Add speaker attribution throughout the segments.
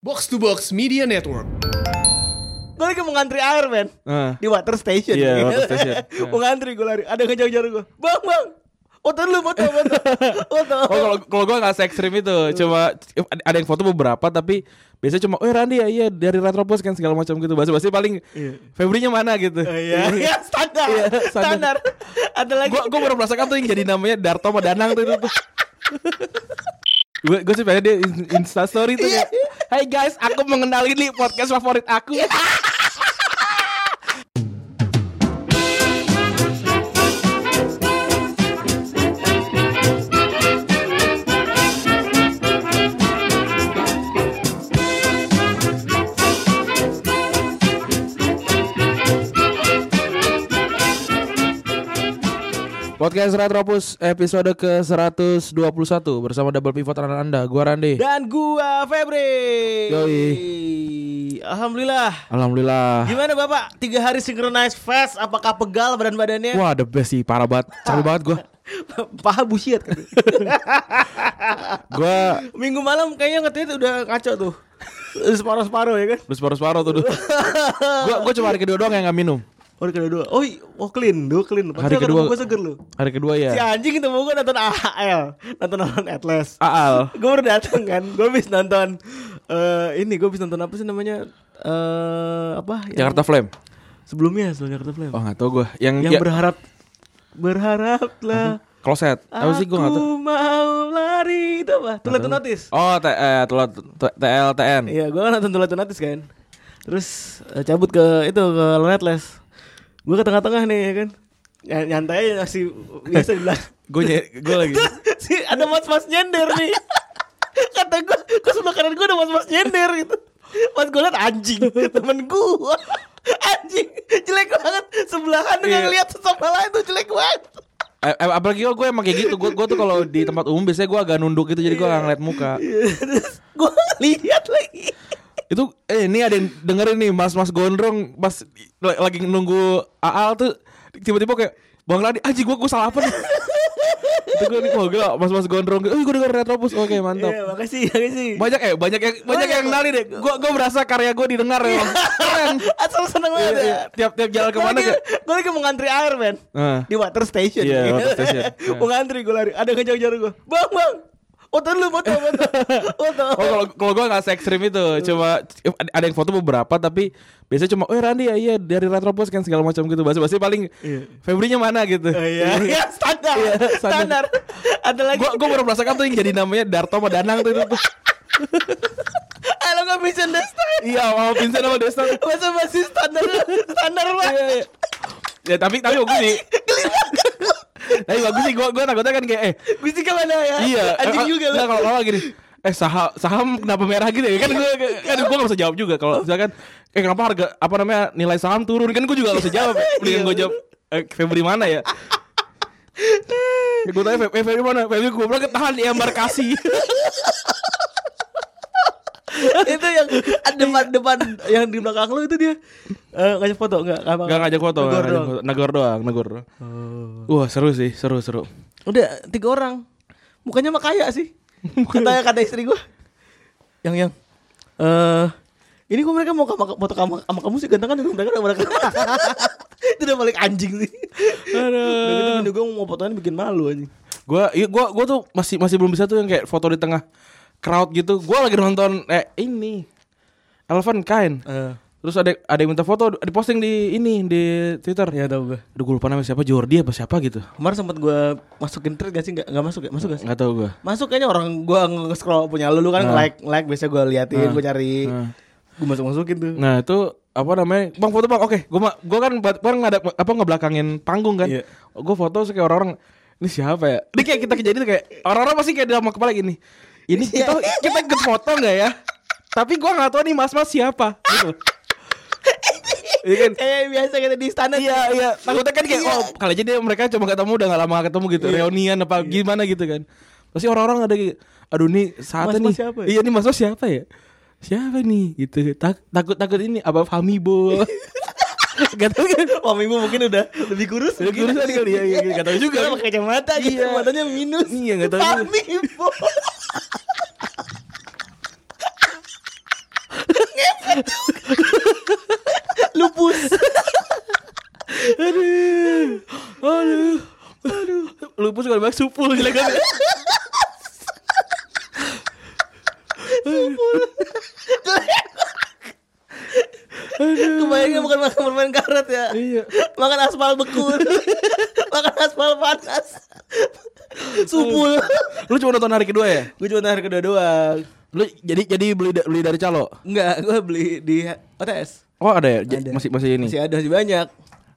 Speaker 1: Box to Box Media Network.
Speaker 2: Gue lagi mau ngantri air men
Speaker 3: Heeh.
Speaker 2: Di water station
Speaker 3: Iya, water station.
Speaker 2: Mau ngantri gue lari Ada ngejar-ngejar gue Bang bang Foto dulu foto foto Foto
Speaker 3: Oh kalau kalau gue nggak se ekstrim itu, cuma ada yang foto beberapa tapi biasanya cuma, oh Randy ya iya dari Retropus kan segala macam gitu, bahasa basi paling Febrinya mana gitu.
Speaker 2: Oh, Iya Iya, standar
Speaker 3: Iya,
Speaker 2: Standar
Speaker 3: standar.
Speaker 2: Ada lagi
Speaker 3: Gue gue baru merasakan tuh yang jadi namanya Darto sama Danang tuh itu. tuh. Gue gue sih pengen dia insta story tuh. kayak, Hai guys, aku mengenali nih podcast favorit aku. Podcast Retropus episode ke 121 bersama double pivot anak Anda, gua Randy.
Speaker 2: Dan gua Febri
Speaker 3: Yoi.
Speaker 2: Alhamdulillah
Speaker 3: Alhamdulillah.
Speaker 2: Gimana bapak? Tiga hari synchronize fest Apakah pegal badan-badannya?
Speaker 3: Wah, the best sih, parah banget. Capek banget gua.
Speaker 2: Paha busiat kan?
Speaker 3: Gua
Speaker 2: Minggu malam kayaknya ngetweet udah ngaco tuh Separuh-separuh ya kan?
Speaker 3: Terus paru-paru tuh dulu. gua gua cuma hari kedua doang yang nggak minum.
Speaker 2: Oh hari kedua Oh, i- oh clean Dua clean Pasti
Speaker 3: Hari
Speaker 2: ketemu
Speaker 3: kedua-
Speaker 2: Gue seger lu
Speaker 3: Hari kedua ya.
Speaker 2: Si anjing ketemu gue nonton AHL Nonton nonton Atlas
Speaker 3: Ah. Aal.
Speaker 2: Gue baru dateng kan Gue habis nonton eh Ini gue habis nonton apa sih namanya eh Apa yang-
Speaker 3: Jakarta Flame.
Speaker 2: Sebelumnya sebelum Jakarta Flame
Speaker 3: Oh nggak tahu gua. Yang,
Speaker 2: Yang
Speaker 3: ya,
Speaker 2: berharap Berharaplah
Speaker 3: kloset. Apa sih gua nggak tahu.
Speaker 2: Aku mau lari Itu apa? Tulet notis
Speaker 3: Oh, T- eh, telat- T- TLTN.
Speaker 2: Iya gue kan nonton Tulet notis kan Terus eh, cabut ke itu ke Atlas Gue ke tengah-tengah nih ya kan Ny- Nyantai aja masih biasa di belakang
Speaker 3: Gue gue lagi.
Speaker 2: si ada mas-mas nyender nih kata gue ke sebelah kanan gue ada mas-mas nyender gitu pas gue liat anjing temen gue anjing jelek banget sebelahan dengan
Speaker 3: Iya.
Speaker 2: lihat sesama lain tuh jelek banget
Speaker 3: Eh, eh, apalagi gue emang kayak gitu. Gue gue tuh kalau di tempat umum biasanya gue agak nunduk gitu jadi gue nggak ngeliat muka.
Speaker 2: terus gue lihat lagi
Speaker 3: Itu eh ini ada yang dengerin nih mas-mas gondrong pas l- lagi nunggu Aal tuh tiba-tiba kayak Bang Ladi, anjing gue gue salah apa nih? Itu gue nih, wah gila, mas-mas gondrong. Eh, gue denger Retropus. Oke, mantap.
Speaker 2: iya makasih makasih
Speaker 3: banyak eh banyak yang
Speaker 2: Oh,
Speaker 3: banyak
Speaker 2: iya,
Speaker 3: yang kenali deh gua gua merasa karya gua didengar ya keren
Speaker 2: asal seneng
Speaker 3: Iya,
Speaker 2: banget
Speaker 3: iya. tiap tiap jalan kemana
Speaker 2: gue
Speaker 3: ke
Speaker 2: gue lagi mau ngantri air men
Speaker 3: Ah.
Speaker 2: di water station
Speaker 3: Iya, water station. Iya.
Speaker 2: mau ngantri gue lari ada kejar kejar gue bang bang foto dulu foto foto foto
Speaker 3: Oh kalau kalau gue nggak se ekstrim itu, cuma ada- ada yang foto beberapa tapi biasanya cuma, oh Randy ya iya dari Retropus kan segala macam gitu, bahasa basi paling Febrinya mana gitu.
Speaker 2: Iya. Oh, iya, Iya, standar.
Speaker 3: Iya,
Speaker 2: standar.
Speaker 3: standar.
Speaker 2: Ada lagi.
Speaker 3: Gue gue baru merasakan tuh yang jadi namanya Darto sama Danang tuh itu. tuh.
Speaker 2: Halo nggak bisa standar.
Speaker 3: Iya, sama Vincent sama Desta. tuh.
Speaker 2: Masa masih standar, standar
Speaker 3: Iya,
Speaker 2: banget.
Speaker 3: iya. Ya tapi tapi bagus sih. Tapi bagus sih gue gue takutnya kan kayak eh
Speaker 2: Gue sih kemana ya?
Speaker 3: Iya.
Speaker 2: Anjing juga lah.
Speaker 3: lah. kalau kalau gini. Eh saham saham kenapa merah gitu ya? Kan
Speaker 2: Iya,
Speaker 3: gue kan gue gak bisa jawab juga
Speaker 2: Oh.
Speaker 3: kalau misalkan eh kenapa harga apa namanya nilai saham turun kan gue juga gak bisa jawab.
Speaker 2: Iya,
Speaker 3: Mendingan gue jawab eh, Febri mana ya? Ya, gue tanya Feb- eh, Febri mana? Febri gue bilang ketahan di embarkasi.
Speaker 2: itu yang depan depan yang di belakang lu itu dia eh, ngajak foto enggak?
Speaker 3: Gak ngajak foto,
Speaker 2: Negor
Speaker 3: Iya.
Speaker 2: doang.
Speaker 3: nggak ngajak
Speaker 2: Oh.
Speaker 3: foto. Negor doang, negor. doang. Wah seru sih, seru seru.
Speaker 2: Udah tiga orang. Mukanya mah kaya sih. Kata kata istri gue. Yang yang eh ini kok mereka mau kama- foto kamu sama kamu sih ganteng kan mereka udah mereka. itu udah balik anjing sih. Udah gitu bini gue mau fotonya bikin malu anjing.
Speaker 3: Gue iya, gua gua tuh masih masih belum bisa tuh yang kayak foto di tengah crowd gitu. Gue lagi nonton eh ini Elephant Kind. Terus ada ada yang minta foto di posting di ini di Twitter. Ya
Speaker 2: tahu gue.
Speaker 3: Aduh gue lupa namanya siapa Jordi apa siapa gitu.
Speaker 2: Kemarin sempat gue masukin thread gak sih? Gak, gak masuk ya? Masuk gak sih?
Speaker 3: Enggak tahu gue.
Speaker 2: Masuk kayaknya orang gue nge-scroll punya lu, lu kan nge-like, nge-like biasa gue liatin, gue cari.
Speaker 3: Nah.
Speaker 2: Gue masuk-masukin tuh.
Speaker 3: Nah, itu apa namanya? Bang foto Bang. Oke, gua ma- gua kan buat kan ada apa ngebelakangin panggung kan.
Speaker 2: Iya.
Speaker 3: Gua foto terus kayak orang-orang ini siapa ya? Ini kayak kita kejadian kayak orang-orang pasti kayak dalam kepala gini. Ini kita kita ikut foto enggak ya? Tapi gua nggak tahu nih mas-mas siapa gitu. Iya kan?
Speaker 2: Kayak Eh, biasa kita di istana.
Speaker 3: Iya
Speaker 2: tuh.
Speaker 3: iya Takutnya kan kayak Oh kali aja dia mereka cuma ketemu Udah gak lama ketemu gitu Reunian apa gimana gitu kan Pasti orang-orang ada kayak Aduh nih saatnya
Speaker 2: Mas-mas
Speaker 3: nih
Speaker 2: siapa ya?"
Speaker 3: Iya nih mas mas siapa ya Siapa nih gitu Tak- Takut-takut ini Apa Famibo Gak tau kan
Speaker 2: Wah minggu mungkin udah lebih kurus
Speaker 3: Lebih
Speaker 2: mungkin.
Speaker 3: kurusan kali ya, iya, iya, nggak tahu juga.
Speaker 2: Karena pakai kacamata gitu
Speaker 3: Iya.
Speaker 2: Matanya minus
Speaker 3: Iya, nggak tahu juga.
Speaker 2: Pami Bo. lupus
Speaker 3: Aduh. Aduh. Aduh. Lupus kalau banyak supul jelek kan.
Speaker 2: kebayangnya bukan makan permen karet ya
Speaker 3: Iya.
Speaker 2: makan aspal beku makan aspal panas supul
Speaker 3: Lu cuma nonton hari kedua ya?
Speaker 2: gue cuma hari kedua doang
Speaker 3: Lu jadi jadi beli da- beli dari calo.
Speaker 2: enggak gue beli di OTS
Speaker 3: Oh ada ya? J-
Speaker 2: Ada.
Speaker 3: Masih masih ini.
Speaker 2: masih ada masih banyak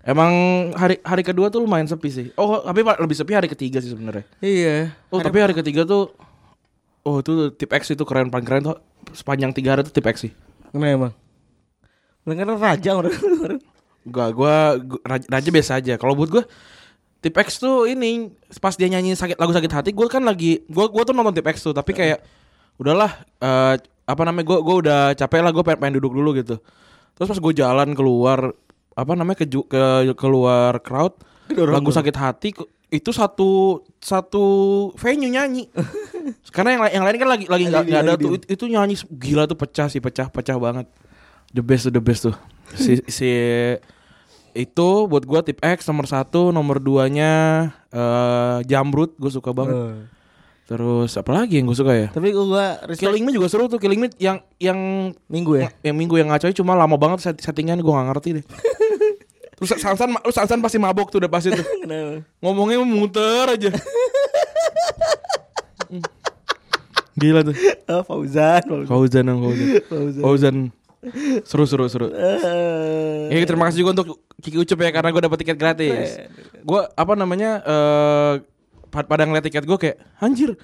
Speaker 3: Emang hari hari kedua tuh lumayan sepi sih. Oh, tapi pa- lebih sepi hari ketiga sih sebenarnya.
Speaker 2: iya
Speaker 3: Oh, tapi hari ketiga tuh Oh, itu tip X itu keren paling keren tuh sepanjang tiga hari tuh tip X sih.
Speaker 2: kenapa emang Mereka raja orang
Speaker 3: Gua gua, gua Raja, Raja biasa aja. Kalau buat gua Tip X tuh ini pas dia nyanyi sakit lagu sakit hati, gua kan lagi gua gua tuh nonton Tip X tuh, tapi kayak udahlah eh, apa namanya gua gua udah capek lah gua pengen, pengen duduk dulu gitu. Terus pas gua jalan keluar apa namanya ke ju- ke keluar crowd
Speaker 2: Kedorong
Speaker 3: lagu sakit hati ku- itu satu satu venue nyanyi. Karena yang la- yang lain kan lagi lagi nggak
Speaker 2: Lagi
Speaker 3: nggak ada
Speaker 2: diem,
Speaker 3: tuh itu, itu nyanyi se- gila tuh pecah sih pecah pecah banget. The best tuh the best tuh. Si si itu buat gua tip X nomor satu nomor duanya eh jamrut gue suka banget.
Speaker 2: Oh.
Speaker 3: Terus apa lagi yang gue suka ya?
Speaker 2: tapi gue respect
Speaker 3: Killing Me juga seru tuh Killing Me yang yang
Speaker 2: minggu ya
Speaker 3: yang minggu yang ngacoy cuma lama banget set- settingan gue gak ngerti deh. Terus Sansan, ma- lu Sansan pasti mabok tuh udah pasti tuh.
Speaker 2: kenapa
Speaker 3: Ngomongnya muter aja. Gila tuh.
Speaker 2: Ah, Fauzan Fauzan.
Speaker 3: Fauzan yang Fauzan.
Speaker 2: Fauzan.
Speaker 3: Fauzan. Seru seru seru.
Speaker 2: Eh,
Speaker 3: Ya terima kasih juga untuk Kiki Ucup ya karena gue dapet tiket gratis. Gue apa namanya eh pad- pada ngeliat tiket gue kayak anjir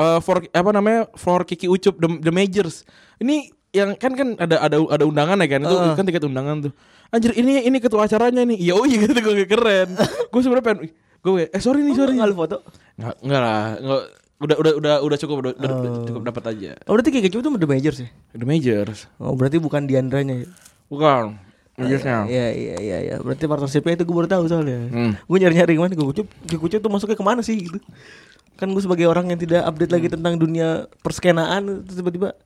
Speaker 3: eh for apa namanya for Kiki Ucup the, the Majors. Ini yang kan kan ada ada ada undangan ya kan itu
Speaker 2: Heeh.
Speaker 3: kan tiket undangan tuh. Anjir ini ini ketua acaranya nih. Iya oh iya gitu gue keren. gue sebenarnya pengen gue kayak, eh sorry nih
Speaker 2: Sorry,
Speaker 3: sorry.
Speaker 2: nggak lu foto?
Speaker 3: Nggak, nggak lah. Nggak, udah udah udah udah cukup udah, udah- udah
Speaker 2: Oh.
Speaker 3: cukup dapat aja.
Speaker 2: Oh, berarti kayak gitu tuh The Majors ya?
Speaker 3: The Majors.
Speaker 2: Oh, berarti bukan Diandranya ya?
Speaker 3: Bukan. Majorsnya.
Speaker 2: Iya, iya, iya, iya. Berarti partnershipnya itu gue baru tahu soalnya.
Speaker 3: Hmm.
Speaker 2: Gue nyari-nyari kemana, gue kucup, gue kucup tuh masuknya kemana sih gitu. Kan gue sebagai orang yang tidak update lagi tentang dunia perskenaan, terus tiba-tiba.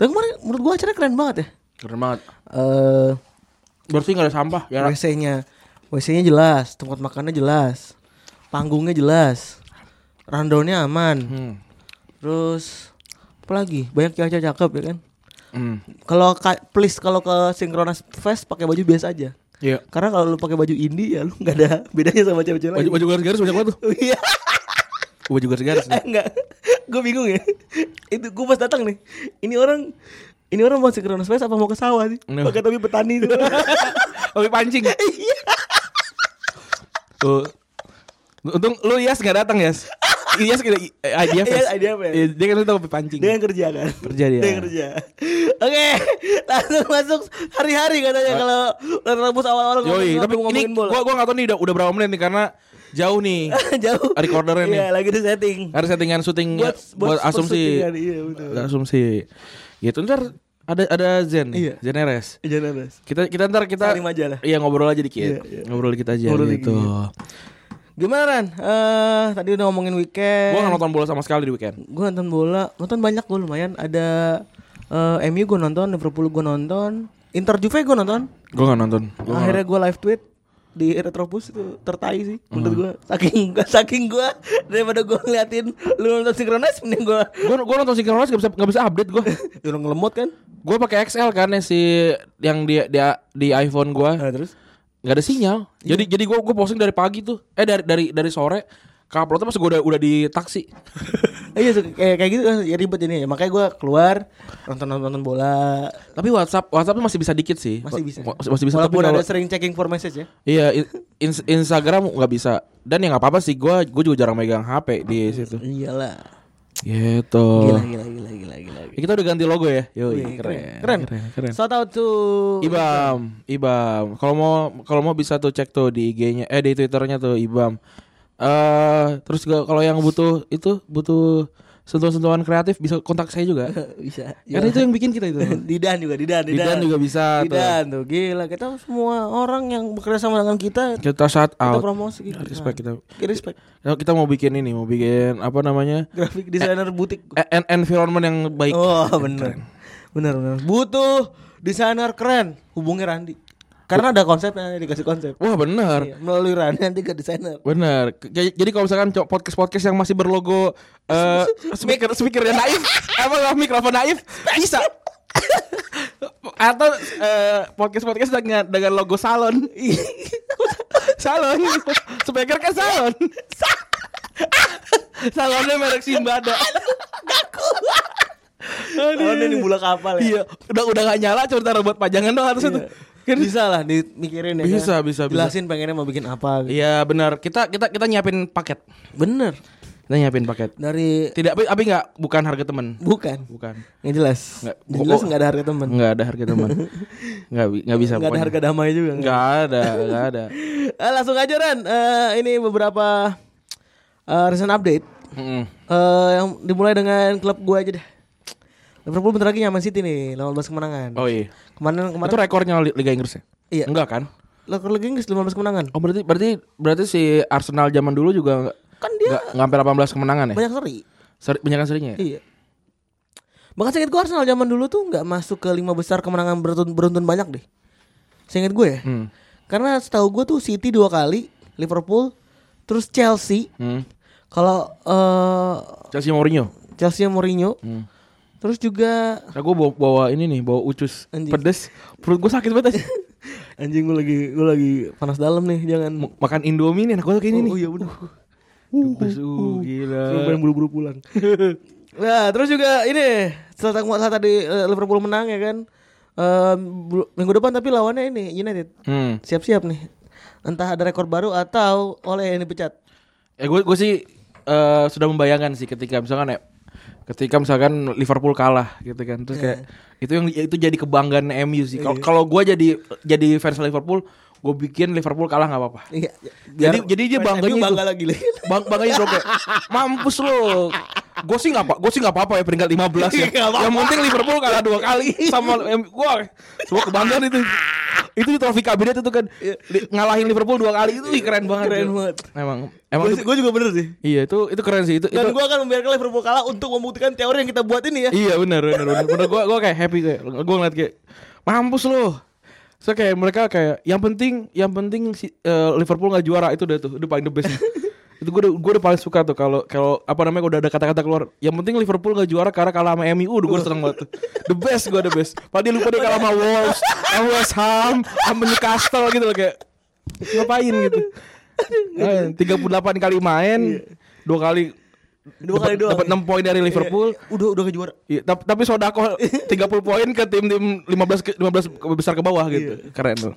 Speaker 2: Dan kemarin menurut gue acaranya keren banget ya.
Speaker 3: Keren banget.
Speaker 2: Eh,
Speaker 3: Bersih nggak ada sampah. Ya,
Speaker 2: WC-nya, WC-nya jelas, tempat makannya jelas, panggungnya jelas, rundownnya aman.
Speaker 3: Hmm.
Speaker 2: Terus apa lagi? Banyak cewek cakep ya kan?
Speaker 3: Hmm.
Speaker 2: Kalau ka- please kalau ke Synchronous Fest pakai baju biasa aja.
Speaker 3: Iya.
Speaker 2: Karena kalau lu pakai baju indie ya lu nggak ada bedanya sama cewek-cewek lain.
Speaker 3: Baju baju garis-garis banyak banget tuh.
Speaker 2: Iya,
Speaker 3: Baju garis-garis.
Speaker 2: eh, enggak. Gue bingung ya. Itu gue pas datang nih. Ini orang ini orang mau Synchronous Fest apa mau ke sawah sih?
Speaker 3: No.
Speaker 2: Pakai topi petani Iya. itu.
Speaker 3: Tapi pancing. Tuh. Untung lu Yas gak datang Yas Yas kira eh, IDF
Speaker 2: Iya, IDF, ya.
Speaker 3: Iya, Dia kan itu kopi pancing
Speaker 2: Dengan kerja kan?
Speaker 3: Kerja dia.
Speaker 2: Dengan kerja. Oke, langsung masuk hari-hari katanya kalau udah rebus awal-awal
Speaker 3: Yoi
Speaker 2: ngomongin-
Speaker 3: Tapi ini
Speaker 2: ngomongin bola.
Speaker 3: gua, gua gak tau nih udah, udah berapa menit nih Karena jauh nih
Speaker 2: jauh.
Speaker 3: Recordernya nih
Speaker 2: Iya, lagi di setting.
Speaker 3: Harus settingan syuting
Speaker 2: Buat-
Speaker 3: buat,
Speaker 2: buat- buat
Speaker 3: asumsi
Speaker 2: syutingan, iya, betul.
Speaker 3: Buat Asumsi Gitu ntar ada ada Zen
Speaker 2: Iya.
Speaker 3: Zen Eres
Speaker 2: Jangan Res.
Speaker 3: kita kita ntar kita
Speaker 2: Saling aja lah.
Speaker 3: iya ngobrol aja dikit
Speaker 2: Iya, iya.
Speaker 3: ngobrol dikit aja
Speaker 2: Ngobrol
Speaker 3: gitu
Speaker 2: Gimana Ran? Eh, tadi udah ngomongin weekend.
Speaker 3: gue gak nonton bola sama sekali di weekend
Speaker 2: Gue nonton bola, nonton banyak gue lumayan. Ada eh, MU gue nonton, Liverpool gue nonton, Inter Juve gue nonton.
Speaker 3: gue gak nonton Gua nggak
Speaker 2: Akhirnya gue live tweet di Retropus itu tertai sih menurut
Speaker 3: Hmm.
Speaker 2: gue saking saking gue daripada gue ngeliatin lu nonton sinkronis mending gue
Speaker 3: Gue gue nonton sinkronis gak bisa gak bisa update gue.
Speaker 2: orang ngelemot kan
Speaker 3: gue pakai XL kan ya, si yang di di, di iPhone gue
Speaker 2: nah, terus Iya.
Speaker 3: nggak ada sinyal. Jadi jadi gue gue posting dari pagi tuh. Eh dari dari dari sore. Ke uploadnya pas gue udah udah di taksi.
Speaker 2: Eh, iya suka- kayak kayak gitu kan, ya ribet ini ya makanya gue keluar nonton nonton bola
Speaker 3: Tapi WhatsApp WhatsApp tuh masih bisa dikit sih.
Speaker 2: masih bisa
Speaker 3: Wa- Masih, masih bisa.
Speaker 2: walaupun
Speaker 3: tapi
Speaker 2: ada
Speaker 3: kalau-
Speaker 2: sering checking for message ya
Speaker 3: Iya in- ins- Instagram nggak bisa. Dan ya nggak apa-apa sih. Gue gue juga jarang megang HP di situ.
Speaker 2: iyalah
Speaker 3: Gitu.
Speaker 2: gila gila gila gila gila
Speaker 3: Ya, kita udah ganti logo ya. Yoi,
Speaker 2: Wih,
Speaker 3: keren.
Speaker 2: keren.
Speaker 3: keren. Iya.
Speaker 2: keren. Shout out to Gitu.
Speaker 3: Ibam, Ibam. Kalau mau kalau mau bisa tuh cek tuh di IG-nya eh di Twitternya tuh Ibam. Eh terus juga kalau yang butuh itu butuh sentuhan-sentuhan kreatif bisa kontak saya juga.
Speaker 2: bisa.
Speaker 3: Karena itu yang bikin kita itu.
Speaker 2: Didan juga, Didan, Didan.
Speaker 3: Didan juga bisa tuh.
Speaker 2: Didan tuh. gila. Kita semua orang yang bekerja sama dengan kita
Speaker 3: Kita shout
Speaker 2: kita
Speaker 3: out.
Speaker 2: promosi gitu.
Speaker 3: Respect kita.
Speaker 2: Nah, respect.
Speaker 3: Ya, Kita mau bikin ini, mau bikin apa namanya? Eh,
Speaker 2: Grafik desainer butik.
Speaker 3: E- en- environment yang baik.
Speaker 2: Oh, bener Benar benar. Butuh desainer keren, hubungi Randi. Karena ada konsepnya dikasih konsep.
Speaker 3: Wah bener
Speaker 2: Iya, melalui Randi nanti ke desainer.
Speaker 3: Bener. K- j- Jadi kalau misalkan co- podcast-podcast yang masih berlogo eh speaker speaker yang naif, apa lah, mikrofon naif bisa. Atau eh, podcast-podcast dengan dengan logo salon. salon. Speaker kan salon. Salonnya merek Simbada.
Speaker 2: Kalau ini di bola kapal ya.
Speaker 3: Iya, udah udah gak nyala cuma taruh buat pajangan doang harusnya tuh. Kan-
Speaker 2: Bisa lah dimikirin ya.
Speaker 3: Bisa, bisa, bisa.
Speaker 2: Jelasin pengennya mau bikin apa. gitu.
Speaker 3: Iya benar. Kita kita kita nyiapin paket.
Speaker 2: Bener.
Speaker 3: Kita nyiapin paket.
Speaker 2: Dari
Speaker 3: Tidak, tapi- tapi nggak bukan harga teman.
Speaker 2: bukan.
Speaker 3: Bukan.
Speaker 2: Yang jelas.
Speaker 3: Nggak.
Speaker 2: Yang jelas
Speaker 3: Oh.
Speaker 2: nggak ada harga teman.
Speaker 3: Nggak ada harga teman. Nggak bi- nggak bisa.
Speaker 2: Nggak ada harga damai juga. nggak.
Speaker 3: Nggak ada, nggak ada.
Speaker 2: Eh, langsung aja Ran. Eh, ini beberapa eh, recent update.
Speaker 3: Mm-mm.
Speaker 2: Eh, yang dimulai dengan klub gue aja deh. Liverpool bentar lagi nyaman City nih, 18 kemenangan.
Speaker 3: Oh iya.
Speaker 2: Kemarin kemarin
Speaker 3: Itu rekornya Li- Liga Inggris ya?
Speaker 2: Iya.
Speaker 3: Enggak kan?
Speaker 2: Liverpool lagi Inggris 15 kemenangan.
Speaker 3: Oh berarti berarti berarti si Arsenal zaman dulu juga nggak
Speaker 2: Kan dia
Speaker 3: nggak nggak sampai 18 kemenangan ya?
Speaker 2: banyak seri.
Speaker 3: Seri, banyak serinya ya?
Speaker 2: Iya. Bahkan seinget gue Arsenal zaman dulu tuh nggak masuk ke lima besar kemenangan beruntun beruntun banyak deh. Seinget gue ya.
Speaker 3: Hmm.
Speaker 2: Karena setahu gue tuh City dua kali, Liverpool, terus Chelsea.
Speaker 3: Hmm.
Speaker 2: Kalau eh,
Speaker 3: Chelsea Mourinho.
Speaker 2: Chelsea yang Mourinho,
Speaker 3: Hmm.
Speaker 2: terus juga
Speaker 3: Nah, gue bawa, bawa ini nih, bawa ucus
Speaker 2: Anjing.
Speaker 3: pedes. Perut gue sakit banget. anjing.
Speaker 2: anjing gue lagi gue lagi panas dalam nih, jangan.
Speaker 3: M- Makan Indomie nih, enak banget kayak ini nih.
Speaker 2: Oh iya bener. Uhuh.
Speaker 3: Dubes, uh, gila.
Speaker 2: Suruh pengen buru-buru pulang. nah, terus juga ini setelah setelah tadi eh, Liverpool menang ya kan. Eh, bu- minggu depan tapi lawannya ini United.
Speaker 3: Hmm.
Speaker 2: Siap-siap nih. Entah ada rekor baru atau oleh yang dipecat.
Speaker 3: Ya gue gue sih eh, sudah membayangkan sih ketika misalkan ya ketika misalkan Liverpool kalah gitu kan terus kayak
Speaker 2: Iya.
Speaker 3: itu yang itu jadi kebanggaan MU sih. Kalau kalau gue jadi jadi fans Liverpool, gue bikin Liverpool kalah nggak apa-apa.
Speaker 2: Iya.
Speaker 3: Jadi- jadi dia
Speaker 2: fans
Speaker 3: bangganya
Speaker 2: MU bangga
Speaker 3: itu.
Speaker 2: lagi. Le.
Speaker 3: Bang bangganya dong kayak mampus lo. Gue sih nggak apa, gue sih nggak apa-apa ya peringkat 15 ya.
Speaker 2: Iya, Nggak apa-apa.
Speaker 3: Yang penting Liverpool kalah dua kali sama gue semua kebanggaan itu. Itu di trofi kabinet itu kan Li- ngalahin Liverpool dua kali itu ih, keren banget.
Speaker 2: Iya. Keren
Speaker 3: ya.
Speaker 2: banget.
Speaker 3: Emang emang itu-
Speaker 2: Gue juga bener sih.
Speaker 3: Iya itu itu keren sih itu.
Speaker 2: Dan
Speaker 3: itu
Speaker 2: gue akan membiarkan Liverpool kalah untuk membuktikan teori yang kita buat ini ya.
Speaker 3: iya benar benar benar. Benar gua gua kayak happy kayak gua ngeliat kayak mampus lo. So kayak mereka kayak yang penting yang penting si eh, Liverpool nggak juara itu udah tuh udah paling the best. itu gue udah, gua udah paling suka tuh kalau kalau apa namanya gua udah ada kata-kata keluar yang penting Liverpool gak juara karena kalah sama MU udah gue seneng banget tuh. the best gue the best padahal lupa dia kalah sama Wolves sama West Ham sama Newcastle gitu loh kayak ngapain gitu tiga puluh delapan kali main dua kali
Speaker 2: Iya. Dua kali doang ya.
Speaker 3: dapat enam poin dari Liverpool
Speaker 2: Udah udah kejuara.
Speaker 3: Iya, tapi, tapi Sodako 30 poin ke tim-tim 15 ke, 15 ke- besar ke bawah gitu. Keren tuh.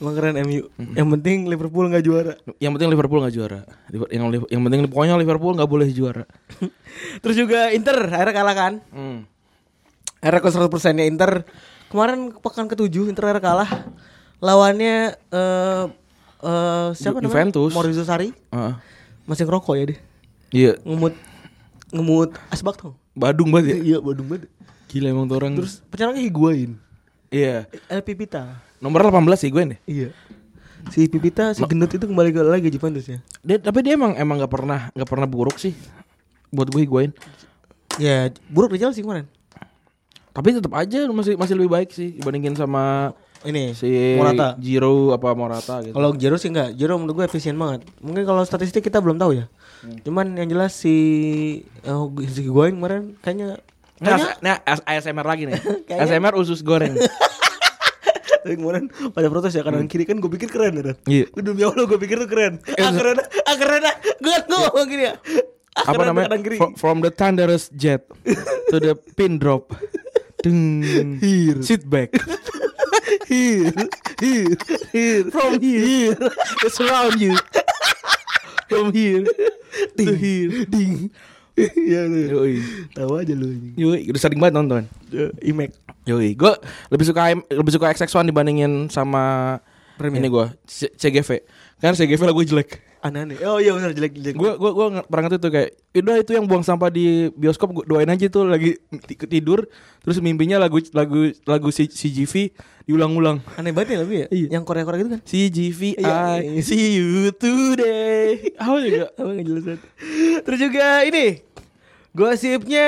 Speaker 2: Emang keren MU. Yang penting Liverpool nggak juara.
Speaker 3: Yang penting Liverpool nggak juara. Liver- Yang, Liv- yang penting pokoknya Liverpool nggak boleh juara.
Speaker 2: Terus juga Inter akhirnya kalah kan?
Speaker 3: Hmm.
Speaker 2: Akhirnya ke 100 persennya Inter Kemarin ke pekan ketujuh Inter akhirnya kalah Lawannya eh eh, Siapa
Speaker 3: Ju-
Speaker 2: namanya?
Speaker 3: Juventus.
Speaker 2: Maurizio Sarri
Speaker 3: Ah.
Speaker 2: Masih ngerokok ya dia
Speaker 3: Iya,
Speaker 2: Ngemut Ngemut asbak tuh
Speaker 3: Badung banget ya.
Speaker 2: Iya badung banget
Speaker 3: Gila emang tuh orang. Terus
Speaker 2: Pecaranya Higuain
Speaker 3: iya,
Speaker 2: El Pipita
Speaker 3: nomor 18 sih gue nih.
Speaker 2: Iya Si Pipita si gendut itu kembali ke lagi Juventus ya
Speaker 3: Dia, tapi dia emang emang nggak pernah nggak pernah buruk sih. Buat gue higuain.
Speaker 2: Ya buruk di Chelsea kemarin
Speaker 3: Tapi tetap aja masih masih lebih baik sih dibandingin sama
Speaker 2: Ini
Speaker 3: si
Speaker 2: Morata
Speaker 3: Giroud apa Morata gitu.
Speaker 2: Kalau Jero sih enggak, Jero menurut gue efisien banget. Mungkin kalau statistik kita belum tahu ya. Cuman yang jelas si oh, si Higuain kemarin kayaknya
Speaker 3: Nah, nah, ASMR lagi nih.
Speaker 2: Kayaknya-
Speaker 3: ASMR usus goreng.
Speaker 2: Tapi kemarin pada protes ya kanan kiri kan gue pikir keren ya.
Speaker 3: Iya.
Speaker 2: Gue demi Allah gue pikir tuh keren. Ah keren, ah keren, ah. gue gue ngomong gini ya. Ah,
Speaker 3: apa
Speaker 2: keren,
Speaker 3: namanya
Speaker 2: Kanan kiri.
Speaker 3: Fro- from the thunderous jet to the pin drop Dung.
Speaker 2: Here.
Speaker 3: sit back here here here from here, it's around you from here to here
Speaker 2: Ding. Iya lu.
Speaker 3: yoi
Speaker 2: Tahu aja lu anjing.
Speaker 3: yoi udah sering banget nonton
Speaker 2: Eh, Imek.
Speaker 3: yoi gue lebih suka M- lebih suka XX1 dibandingin sama
Speaker 2: Premier.
Speaker 3: ini gue CGV kan CGV lah gue jelek
Speaker 2: Aneh-aneh. Oh iya benar jelek jelek.
Speaker 3: gue gue gue nge- pernah ngerti tuh kayak udah itu yang buang sampah di bioskop gue doain aja tuh lagi ti- tidur terus mimpinya lagu lagu lagu si CGV diulang-ulang
Speaker 2: aneh banget ya tapi ya.
Speaker 3: Iya.
Speaker 2: Yang Korea-Korea gitu kan.
Speaker 3: CGV
Speaker 2: Iya,
Speaker 3: I
Speaker 2: iya.
Speaker 3: see you today apa juga
Speaker 2: Apa nggak jelas banget. Terus juga ini gosipnya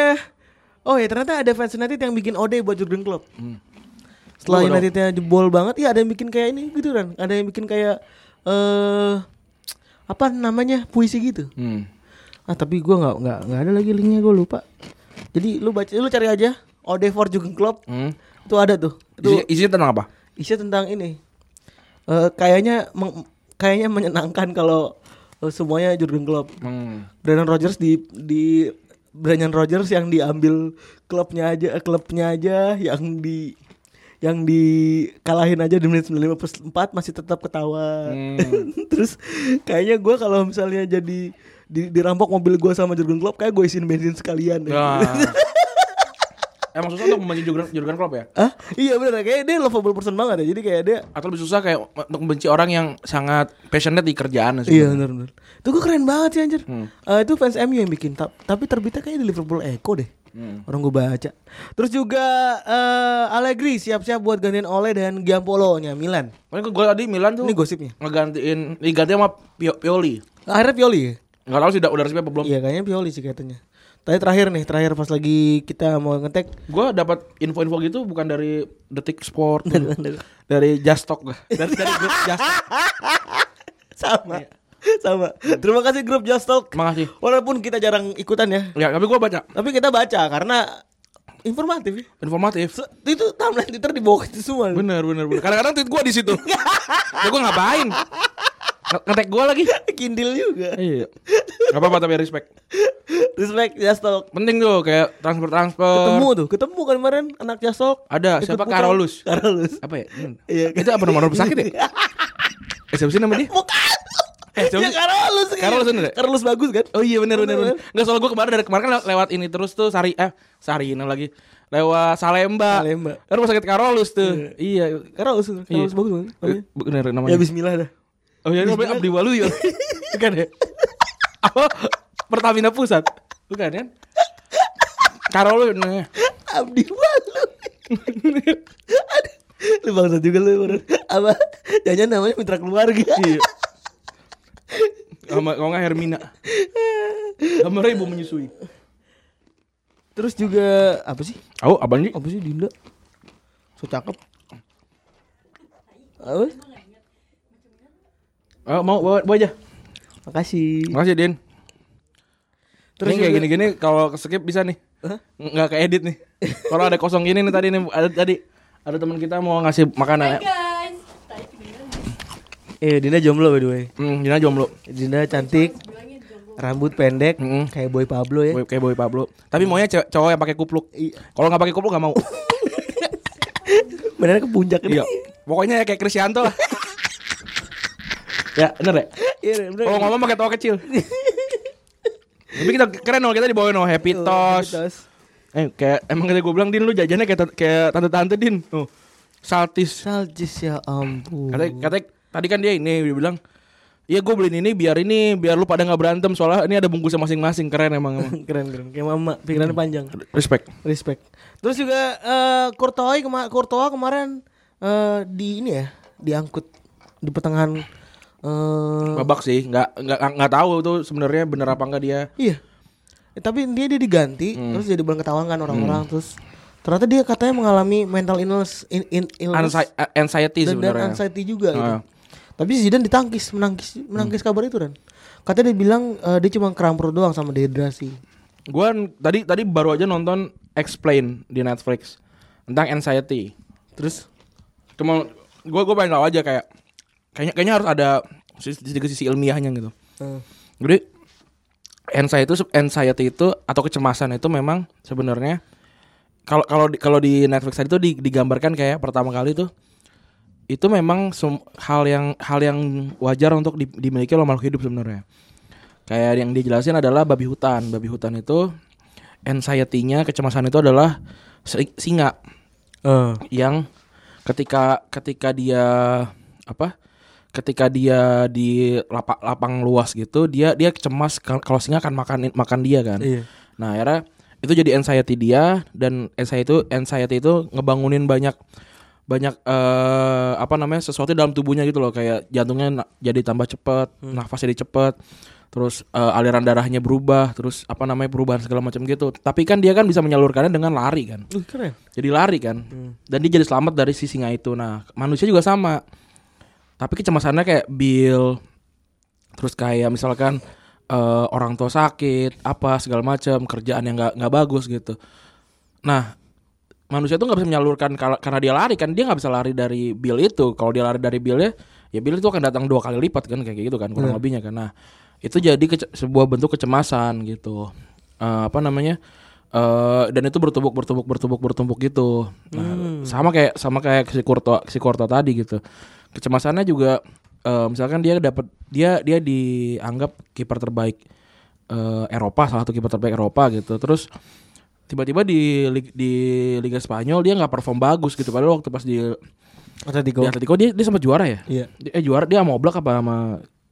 Speaker 2: Oh ya ternyata ada fans United yang bikin ode buat Jurgen Klopp. Setelah Unitednya jebol banget, ya ada yang bikin kayak ini gitu kan. Ada yang bikin kayak eh apa namanya puisi gitu.
Speaker 3: Hmm.
Speaker 2: Ah tapi gua nggak nggak nggak ada lagi linknya gue lupa. Jadi lu baca lu cari aja ode for Jurgen Klopp.
Speaker 3: Hmm.
Speaker 2: Itu ada tuh. Itu
Speaker 3: Isinya, isinya tentang apa?
Speaker 2: isinya tentang ini. Eh kayaknya meng- kayaknya menyenangkan kalau eh, semuanya Jurgen Klopp.
Speaker 3: Hmm.
Speaker 2: Brendan Rodgers di di Brendan Rodgers yang diambil klubnya aja eh, klubnya aja yang di yang dikalahin aja di menit 94 masih tetap ketawa. Terus kayaknya gua kalau misalnya jadi di, dirampok mobil gua sama Jurgen Klopp kayak gue isiin bensin sekalian deh.
Speaker 3: Nah. Emang susah untuk membenci Jurgen, Jurgen Klopp ya?
Speaker 2: Hah? Iya bener kayaknya dia lovable person banget ya. Jadi kayak dia
Speaker 3: Atau lebih susah kayak untuk membenci orang yang sangat passionate di kerjaan
Speaker 2: Iya bener bener. Itu gue keren banget sih anjir.
Speaker 3: Hmm.
Speaker 2: Eh, itu fans MU yang bikin. Ta- tapi terbitnya kayaknya di Liverpool Echo deh.
Speaker 3: Hmm.
Speaker 2: Orang gue baca. Terus juga eh, Allegri siap-siap buat gantiin Ole dan Giampolo nya Milan.
Speaker 3: Makanya gue Kan tadi Milan tuh
Speaker 2: Ini gosipnya.
Speaker 3: ngegantiin diganti sama Pio- Pioli.
Speaker 2: Akhirnya Pioli. ya?
Speaker 3: Enggak tahu sih udah udah resmi apa belum.
Speaker 2: Iya kayaknya Pioli sih katanya. Tapi terakhir nih, terakhir pas lagi kita mau ngetek.
Speaker 3: Gue dapat info-info gitu bukan dari Detik Sport, dari Just Talk gua. Dari dari grup Just Talk.
Speaker 2: Sama.
Speaker 3: Iya.
Speaker 2: Sama.
Speaker 3: Hmm.
Speaker 2: Terima kasih grup Just Talk.
Speaker 3: Makasih.
Speaker 2: Walaupun kita jarang ikutan ya.
Speaker 3: Ya, tapi gue baca
Speaker 2: Tapi kita baca karena informatif. ya.
Speaker 3: informatif.
Speaker 2: Se- Itu timeline Twitter di bawah itu semua.
Speaker 3: Bener bener bener. Kadang-kadang tweet gue di situ. ya gue ngapain? Nge- Ngetek gue lagi.
Speaker 2: Kindle juga.
Speaker 3: Iya. Gak apa-apa tapi respect.
Speaker 2: Respect Jastok.
Speaker 3: Penting tuh kayak transfer transfer.
Speaker 2: Ketemu tuh, ketemu kan kemarin anak Jastok.
Speaker 3: Eh. Ada
Speaker 2: Ikut
Speaker 3: siapa
Speaker 2: putar.
Speaker 3: Karolus?
Speaker 2: Karolus.
Speaker 3: Apa ya? Hmm.
Speaker 2: Iya,
Speaker 3: Itu apa nomor rumah sakit ya? eh, siapa sih nama dia?
Speaker 2: Bukan.
Speaker 3: Eh, siapa
Speaker 2: ya
Speaker 3: sih?
Speaker 2: Karolus.
Speaker 3: Karolus bener ya?
Speaker 2: Karolus bagus kan?
Speaker 3: Oh iya benar benar.
Speaker 2: Bener,
Speaker 3: Enggak soal gue kemarin dari kemarin kan lew- lewat ini terus tuh Sari eh Sarina lagi lewat Salemba.
Speaker 2: Salemba.
Speaker 3: Kan Rumah sakit Karolus tuh. Iya.
Speaker 2: Karolus, Karolus
Speaker 3: Iya.
Speaker 2: bagus banget.
Speaker 3: Eh, Bener
Speaker 2: Ya
Speaker 3: namanya.
Speaker 2: bismillah dah.
Speaker 3: Oh iya namanya Abdi Waluyo. Bukan ya? Apa? Pertamina Pusat. Bukan kan? Karolus namanya.
Speaker 2: Abdi Walu. Aduh. Lu bangsa juga lu bener. Apa? Jangan namanya mitra keluarga.
Speaker 3: Iya. Sama kalau nggak Hermina. Sama ibu menyusui.
Speaker 2: Terus juga apa sih?
Speaker 3: Oh, abang sih?
Speaker 2: Apa sih Dinda? So cakep. Apa?
Speaker 3: Oh, mau bawa, bawa aja.
Speaker 2: Makasih.
Speaker 3: Makasih, Din.
Speaker 2: Terus
Speaker 3: ini kayak
Speaker 2: juga-
Speaker 3: gini-gini kalau skip bisa nih.
Speaker 2: Hah?
Speaker 3: Nggak ke edit nih. Kalau ada kosong gini nih tadi nih ada tadi ada teman kita mau ngasih makanan.
Speaker 1: guys tadi kedengeran nggak?
Speaker 2: Eh, Dinda jomblo by the way.
Speaker 3: Hmm, Dina jomblo.
Speaker 2: Dinda cantik, rambut pendek,
Speaker 3: Mm-mm.
Speaker 2: kayak Boy Pablo ya.
Speaker 3: Boy, kayak Boy Pablo. Tapi maunya cewek- cowok yang pakai kupluk.
Speaker 2: Iya.
Speaker 3: Kalau nggak pakai kupluk nggak mau.
Speaker 2: Beneran ke puncak ini.
Speaker 3: iya. Pokoknya ya kayak Krisyanto lah. ya, bener ya?
Speaker 2: Iya, bener.
Speaker 3: Kalau ngomong pakai tawa kecil. Tapi kita keren loh kita dibawain oh happy
Speaker 2: Tuh,
Speaker 3: toast.
Speaker 2: Tos.
Speaker 3: Eh kayak emang kayak gue bilang Din lu jajannya kayak ta- kayak tante-tante Din. Tuh. Saltis.
Speaker 2: Saljis ya ampun.
Speaker 3: Katanya, katanya tadi kan dia ini dia bilang Iya gue beliin ini biar ini biar lu pada nggak berantem soalnya ini ada bungkusnya masing-masing keren emang emang
Speaker 2: keren keren kayak mama pikirannya panjang
Speaker 3: respect
Speaker 2: respect terus juga eh Courtois kema- Courtois kemarin eh di ini ya diangkut di pertengahan eh
Speaker 3: babak sih nggak nggak nggak tahu tuh sebenarnya bener apa nggak dia
Speaker 2: iya Eh, tapi dia dia diganti
Speaker 3: Hmm.
Speaker 2: terus jadi bulan ketahuan kan orang-orang terus ternyata dia katanya mengalami mental illness in, in- illness
Speaker 3: Ansi-
Speaker 2: dan, dan
Speaker 3: anxiety Iya sebenarnya
Speaker 2: anxiety juga gitu.
Speaker 3: Ah. Hmm.
Speaker 2: Tapi si Zidane ditangkis, menangkis, menangkis kabar itu kan. Katanya dia bilang eh, dia cuma kram perut doang sama dehidrasi.
Speaker 3: Gue tadi tadi baru aja nonton Explain di Netflix tentang anxiety.
Speaker 2: Terus
Speaker 3: Cuma gue gue pengen tahu aja kayak kayaknya kayaknya harus ada sisi, sisi, sisi ilmiahnya gitu.
Speaker 2: eh,
Speaker 3: Jadi anxiety itu anxiety itu atau kecemasan itu memang sebenarnya kalau kalau di- kalau di Netflix tadi itu di- digambarkan kayak pertama kali tuh itu memang sem- hal yang hal yang wajar untuk di- dimiliki oleh makhluk hidup sebenarnya. Kayak yang dijelasin adalah babi hutan. Babi hutan itu anxiety-nya kecemasan itu adalah si- singa Eh. yang ketika ketika dia apa ketika dia di lapa- lapang luas gitu dia dia cemas kal- kalau singa akan makan makan dia kan
Speaker 2: Iya.
Speaker 3: nah akhirnya itu jadi anxiety dia dan anxiety itu anxiety itu ngebangunin banyak banyak eh apa namanya sesuatu dalam tubuhnya gitu loh kayak jantungnya na- jadi tambah cepat, nafas jadi cepat, terus eh, aliran darahnya berubah, terus apa namanya perubahan segala macam gitu. Tapi kan dia kan bisa menyalurkannya dengan lari kan.
Speaker 2: Uh, keren.
Speaker 3: Jadi lari kan. Dan dia jadi selamat dari si singa itu. Nah, manusia juga sama. Tapi kecemasannya kayak Bill terus kayak misalkan eh, orang tua sakit, apa segala macam, kerjaan yang nggak nggak bagus gitu. Nah, manusia tuh nggak bisa menyalurkan kal- karena dia lari kan, dia nggak bisa lari dari Bill itu. Kalau dia lari dari Billnya, ya Bill itu akan datang dua kali lipat kan kayak gitu kan kurang lebihnya kan. Nah, itu jadi kece- sebuah bentuk kecemasan gitu. Eh, apa namanya? Eh, dan itu bertumpuk bertumpuk bertumpuk bertumpuk gitu. Nah, sama kayak sama kayak si Kurto si Kurto tadi gitu. Kecemasannya juga eh, misalkan dia dapat dia dia dianggap kiper terbaik eh, Eropa salah satu kiper terbaik Eropa gitu. Terus tiba-tiba di lig- di Liga Spanyol dia nggak perform bagus gitu padahal waktu pas di,
Speaker 2: Atletico.
Speaker 3: di Atletico dia dia sempat juara ya
Speaker 2: Iya.
Speaker 3: Dia- eh juara dia mau Oblak apa sama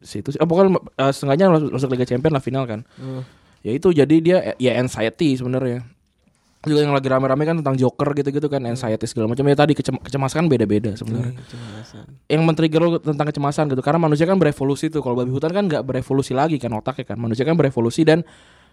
Speaker 3: situ sih oh, pokoknya eh, setengahnya masuk masuk Liga Champions lah final kan ya itu jadi dia eh, ya anxiety sebenarnya juga yang lagi rame-rame kan tentang Joker gitu-gitu kan anxiety segala macam ya tadi kecem- kecemasan beda-beda sebenarnya yang men-trigger lo tentang kecemasan gitu karena manusia kan berevolusi tuh kalau babi hutan kan nggak berevolusi lagi kan otaknya kan manusia kan berevolusi dan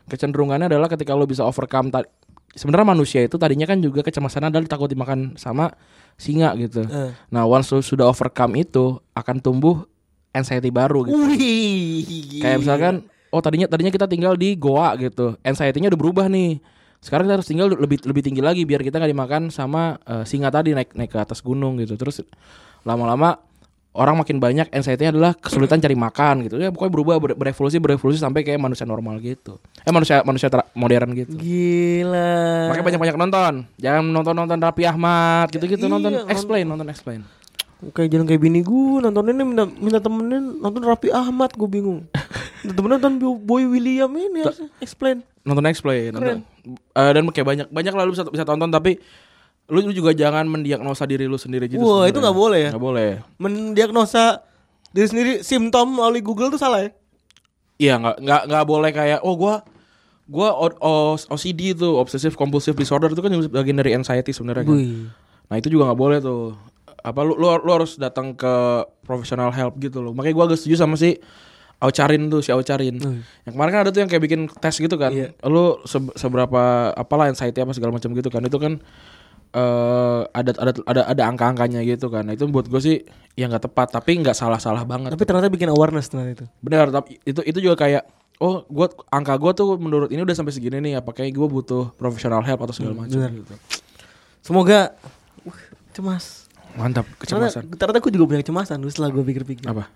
Speaker 3: kecenderungannya adalah ketika lo bisa overcome ta- sebenarnya manusia itu tadinya kan juga kecemasan adalah takut dimakan sama singa gitu
Speaker 2: Eh.
Speaker 3: nah once lo sudah overcome itu akan tumbuh anxiety baru gitu
Speaker 2: Wih.
Speaker 3: kayak
Speaker 2: Iya.
Speaker 3: misalkan oh tadinya tadinya kita tinggal di goa gitu anxiety-nya udah berubah nih sekarang kita harus tinggal lebih lebih tinggi lagi biar kita nggak dimakan sama eh, singa tadi naik naik ke atas gunung gitu terus lama-lama orang makin banyak anxiety-nya adalah kesulitan cari makan gitu ya pokoknya berubah ber- berevolusi berevolusi sampai kayak manusia normal gitu eh manusia manusia tra- modern gitu
Speaker 2: gila.
Speaker 3: makanya banyak-banyak nonton jangan nonton nonton Raffi Ahmad
Speaker 2: iya,
Speaker 3: gitu-gitu nonton
Speaker 2: nonton.
Speaker 3: explain nonton explain
Speaker 2: Kayak jalan kayak bini gue nontonin ini minta, minta temenin nonton Raffi Ahmad gue bingung. Minta temenin nonton Bo- Boy William ini harusnya. explain.
Speaker 3: nonton explain nonton. Eh, dan kayak banyak banyak lah lu bisa, bisa tonton tapi lu, lu juga jangan mendiagnosa diri lu sendiri gitu
Speaker 2: Wah, itu
Speaker 3: sebenarnya.
Speaker 2: nggak boleh ya?
Speaker 3: nggak boleh
Speaker 2: Mendiagnosa diri sendiri simptom melalui Google tuh salah ya?
Speaker 3: iya nggak nggak nggak boleh kayak oh gua gua O- O- OCD tuh obsessive compulsive disorder itu kan bagian dari anxiety sebenarnya kan. nah itu juga nggak boleh tuh apa lu lu, lu harus datang ke professional help gitu loh makanya gua agak setuju sama si Aucarin tuh si Aucarin. Yang kemarin kan ada tuh yang kayak bikin tes gitu kan.
Speaker 2: Iya.
Speaker 3: Lu se- seberapa apalah anxiety apa segala macam gitu kan. Itu kan eh ada ada ada ada angka-angkanya gitu kan. Nah, itu buat gue sih ya nggak tepat tapi nggak salah-salah banget.
Speaker 2: Tapi ternyata bikin awareness ternyata itu.
Speaker 3: Benar, tapi itu itu juga kayak oh gua angka gua tuh menurut ini udah sampai segini nih apakah gue butuh professional help atau segala macam
Speaker 2: benar.
Speaker 3: gitu.
Speaker 2: Semoga Wah, cemas.
Speaker 3: Mantap
Speaker 2: Ternyata,
Speaker 3: kecemasan.
Speaker 2: ternyata gue juga punya kecemasan Terus setelah gue pikir-pikir
Speaker 3: Apa?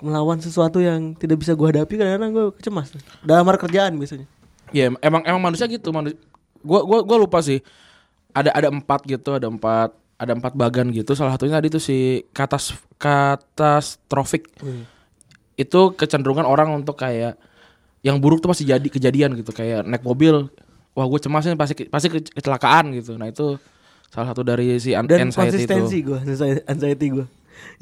Speaker 2: Melawan sesuatu yang tidak bisa gue hadapi Kadang-kadang gue kecemas Dalam hal kerjaan biasanya
Speaker 3: Ya em- emang emang manusia gitu manusia. Gua gua gua lupa sih. Ada ada empat gitu, ada empat ada empat bagan gitu. Salah satunya tadi tuh si katas katastrofik. Itu kecenderungan orang untuk kayak yang buruk tuh pasti jadi kejadian gitu kayak naik mobil wah gue cemasnya pasti ke- pasti ke- kecelakaan gitu nah itu salah satu dari si an-
Speaker 2: Dan
Speaker 3: anxiety
Speaker 2: konsistensi
Speaker 3: itu
Speaker 2: gue Anxiety gue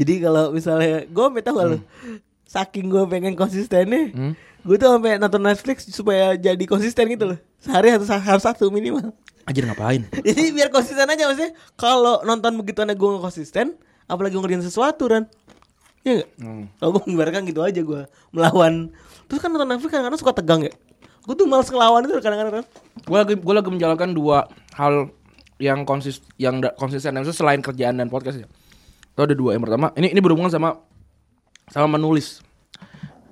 Speaker 2: Jadi kalau misalnya Gue minta gak lu
Speaker 3: Hmm.
Speaker 2: Saking gue pengen konsistennya Gue tuh sampai nonton Netflix Supaya jadi konsisten gitu loh Sehari harus, harus satu minimal
Speaker 3: anjir ngapain
Speaker 2: Jadi biar konsisten aja maksudnya Kalau nonton begituannya gue gak konsisten Apalagi ngerjain sesuatu Ran Iya gak? Kalau gue mengibarkan gitu aja gue Melawan Terus kan nonton Netflix kadang-kadang suka tegang ya Gue tuh males ngelawan itu kadang-kadang Ran.
Speaker 3: gue lagi gue lagi menjalankan dua hal yang konsis yang da- konsisten maksudnya selain kerjaan dan podcast ya itu ada dua yang pertama ini ini berhubungan sama sama menulis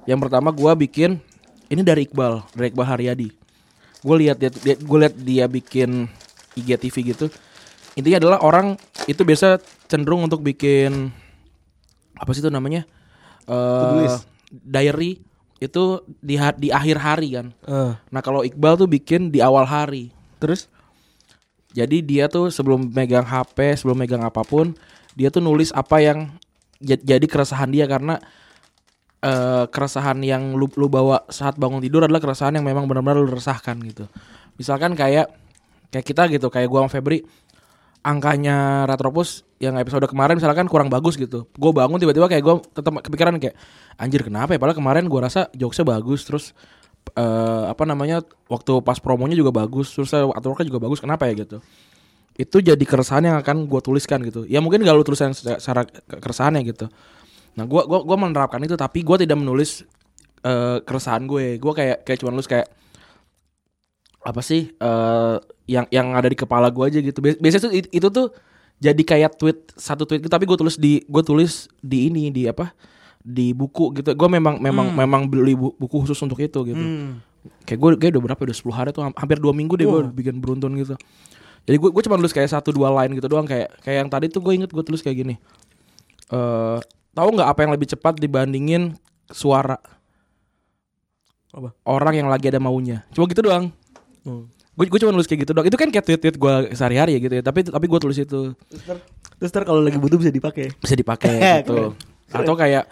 Speaker 3: yang pertama gue bikin ini dari Iqbal dari Iqbal Haryadi gue lihat dia, dia gue lihat dia bikin IGTV gitu intinya adalah orang itu biasa cenderung untuk bikin apa sih itu namanya eh diary itu di ha- di akhir hari kan Nah kalau Iqbal tuh bikin di awal hari.
Speaker 2: Eh, Terus
Speaker 3: Jadi dia tuh sebelum megang HP, sebelum megang apapun, dia tuh nulis apa yang ja- jadi keresahan dia karena eh, keresahan yang lu, lu bawa saat bangun tidur adalah keresahan yang memang benar-benar lu resahkan gitu. Misalkan kayak kayak kita gitu, kayak gua sama Febri angkanya Retropus yang episode kemarin misalkan kurang bagus gitu. Gue bangun tiba-tiba kayak gue tetap kepikiran kayak anjir kenapa ya padahal kemarin gua rasa jokesnya bagus terus eh apa namanya waktu pas promonya juga bagus terus saya artworknya juga bagus kenapa ya gitu. itu jadi keresahan yang akan gue tuliskan gitu ya mungkin gak lu tulisan secara- secara ke- keresahannya gitu nah gue gua gua menerapkan itu tapi gue tidak menulis eh, keresahan gue gue kayak kayak cuma nulis kayak apa sih eh yang yang ada di kepala gue aja gitu Bias- biasanya tuh it- itu tuh jadi kayak tweet satu tweet gitu, tapi gue tulis di gue tulis di ini di apa di buku gitu gue memang memang memang beli bu- buku khusus untuk itu gitu
Speaker 2: Hmm.
Speaker 3: kayak gue kayak udah berapa ya, udah 10 hari tuh ham- hampir dua minggu deh gue bikin beruntun gitu jadi gue gue cuma nulis kayak satu dua line gitu doang kayak kayak yang tadi tuh gue inget gue tulis kayak gini eh tahu nggak apa yang lebih cepat dibandingin suara
Speaker 2: Apa?
Speaker 3: orang yang lagi ada maunya cuma gitu doang
Speaker 2: Hmm.
Speaker 3: gue gue cuma nulis kayak gitu doang itu kan kayak tweet tweet gue sehari-hari ya gitu ya tapi tapi gue tulis itu
Speaker 2: Terus ntar kalau lagi butuh bisa dipakai.
Speaker 3: bisa dipakai gitu atau kayak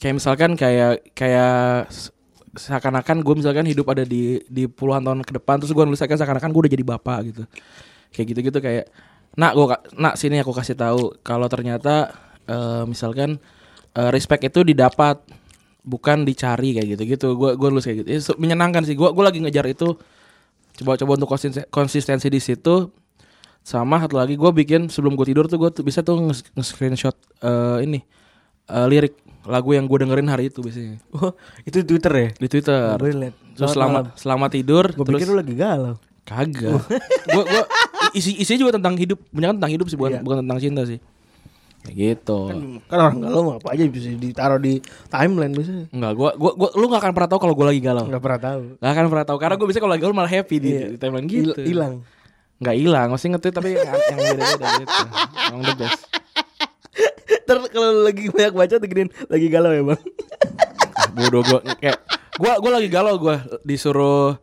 Speaker 3: kayak misalkan kayak kayak se- seakan-akan gue misalkan hidup ada di di puluhan tahun ke depan terus gue nulis kayak seakan-akan gue udah jadi bapak gitu kayak gitu-gitu kayak nak gue nak sini aku kasih tahu kalau ternyata eh, misalkan eh, respect itu didapat bukan dicari kayak gitu-gitu gue gue nulis kayak gitu Eh, se- menyenangkan sih gue gue lagi ngejar itu coba-coba untuk konsis- konsistensi di situ sama satu lagi gue bikin sebelum gue tidur tuh gue tuh bisa tuh nge- nge-screenshot eh, ini eh, lirik lagu yang gue dengerin hari itu biasanya
Speaker 2: Oh, itu di Twitter ya?
Speaker 3: di Twitter.
Speaker 2: Gue liat.
Speaker 3: Terus selama selama tidur
Speaker 2: Gue
Speaker 3: terus
Speaker 2: pikir lu lagi galau.
Speaker 3: kagak. Gua gua isi isinya juga tentang hidup, banyak kan tentang hidup sih
Speaker 2: Iya.
Speaker 3: bukan bukan tentang cinta sih. Kayak gitu.
Speaker 2: Kan orang galau mah apa aja bisa ditaruh di timeline biasanya.
Speaker 3: Enggak, gua gua, gua lu gak akan pernah tahu kalau gua lagi galau.
Speaker 2: Enggak pernah tahu.
Speaker 3: Gak akan pernah tahu karena gue bisa kalau lagi galau malah happy di,
Speaker 2: Iya.
Speaker 3: di timeline
Speaker 2: Hil-
Speaker 3: gitu.
Speaker 2: Hilang.
Speaker 3: Enggak hilang, masih nge-tweet tapi yang, yang beda-beda gitu. Emang the best.
Speaker 2: Ntar kalau lu lagi banyak baca tuh gedein, lagi galau ya bang.
Speaker 3: Ah, Bodoh gua kayak gua gua lagi galau gua disuruh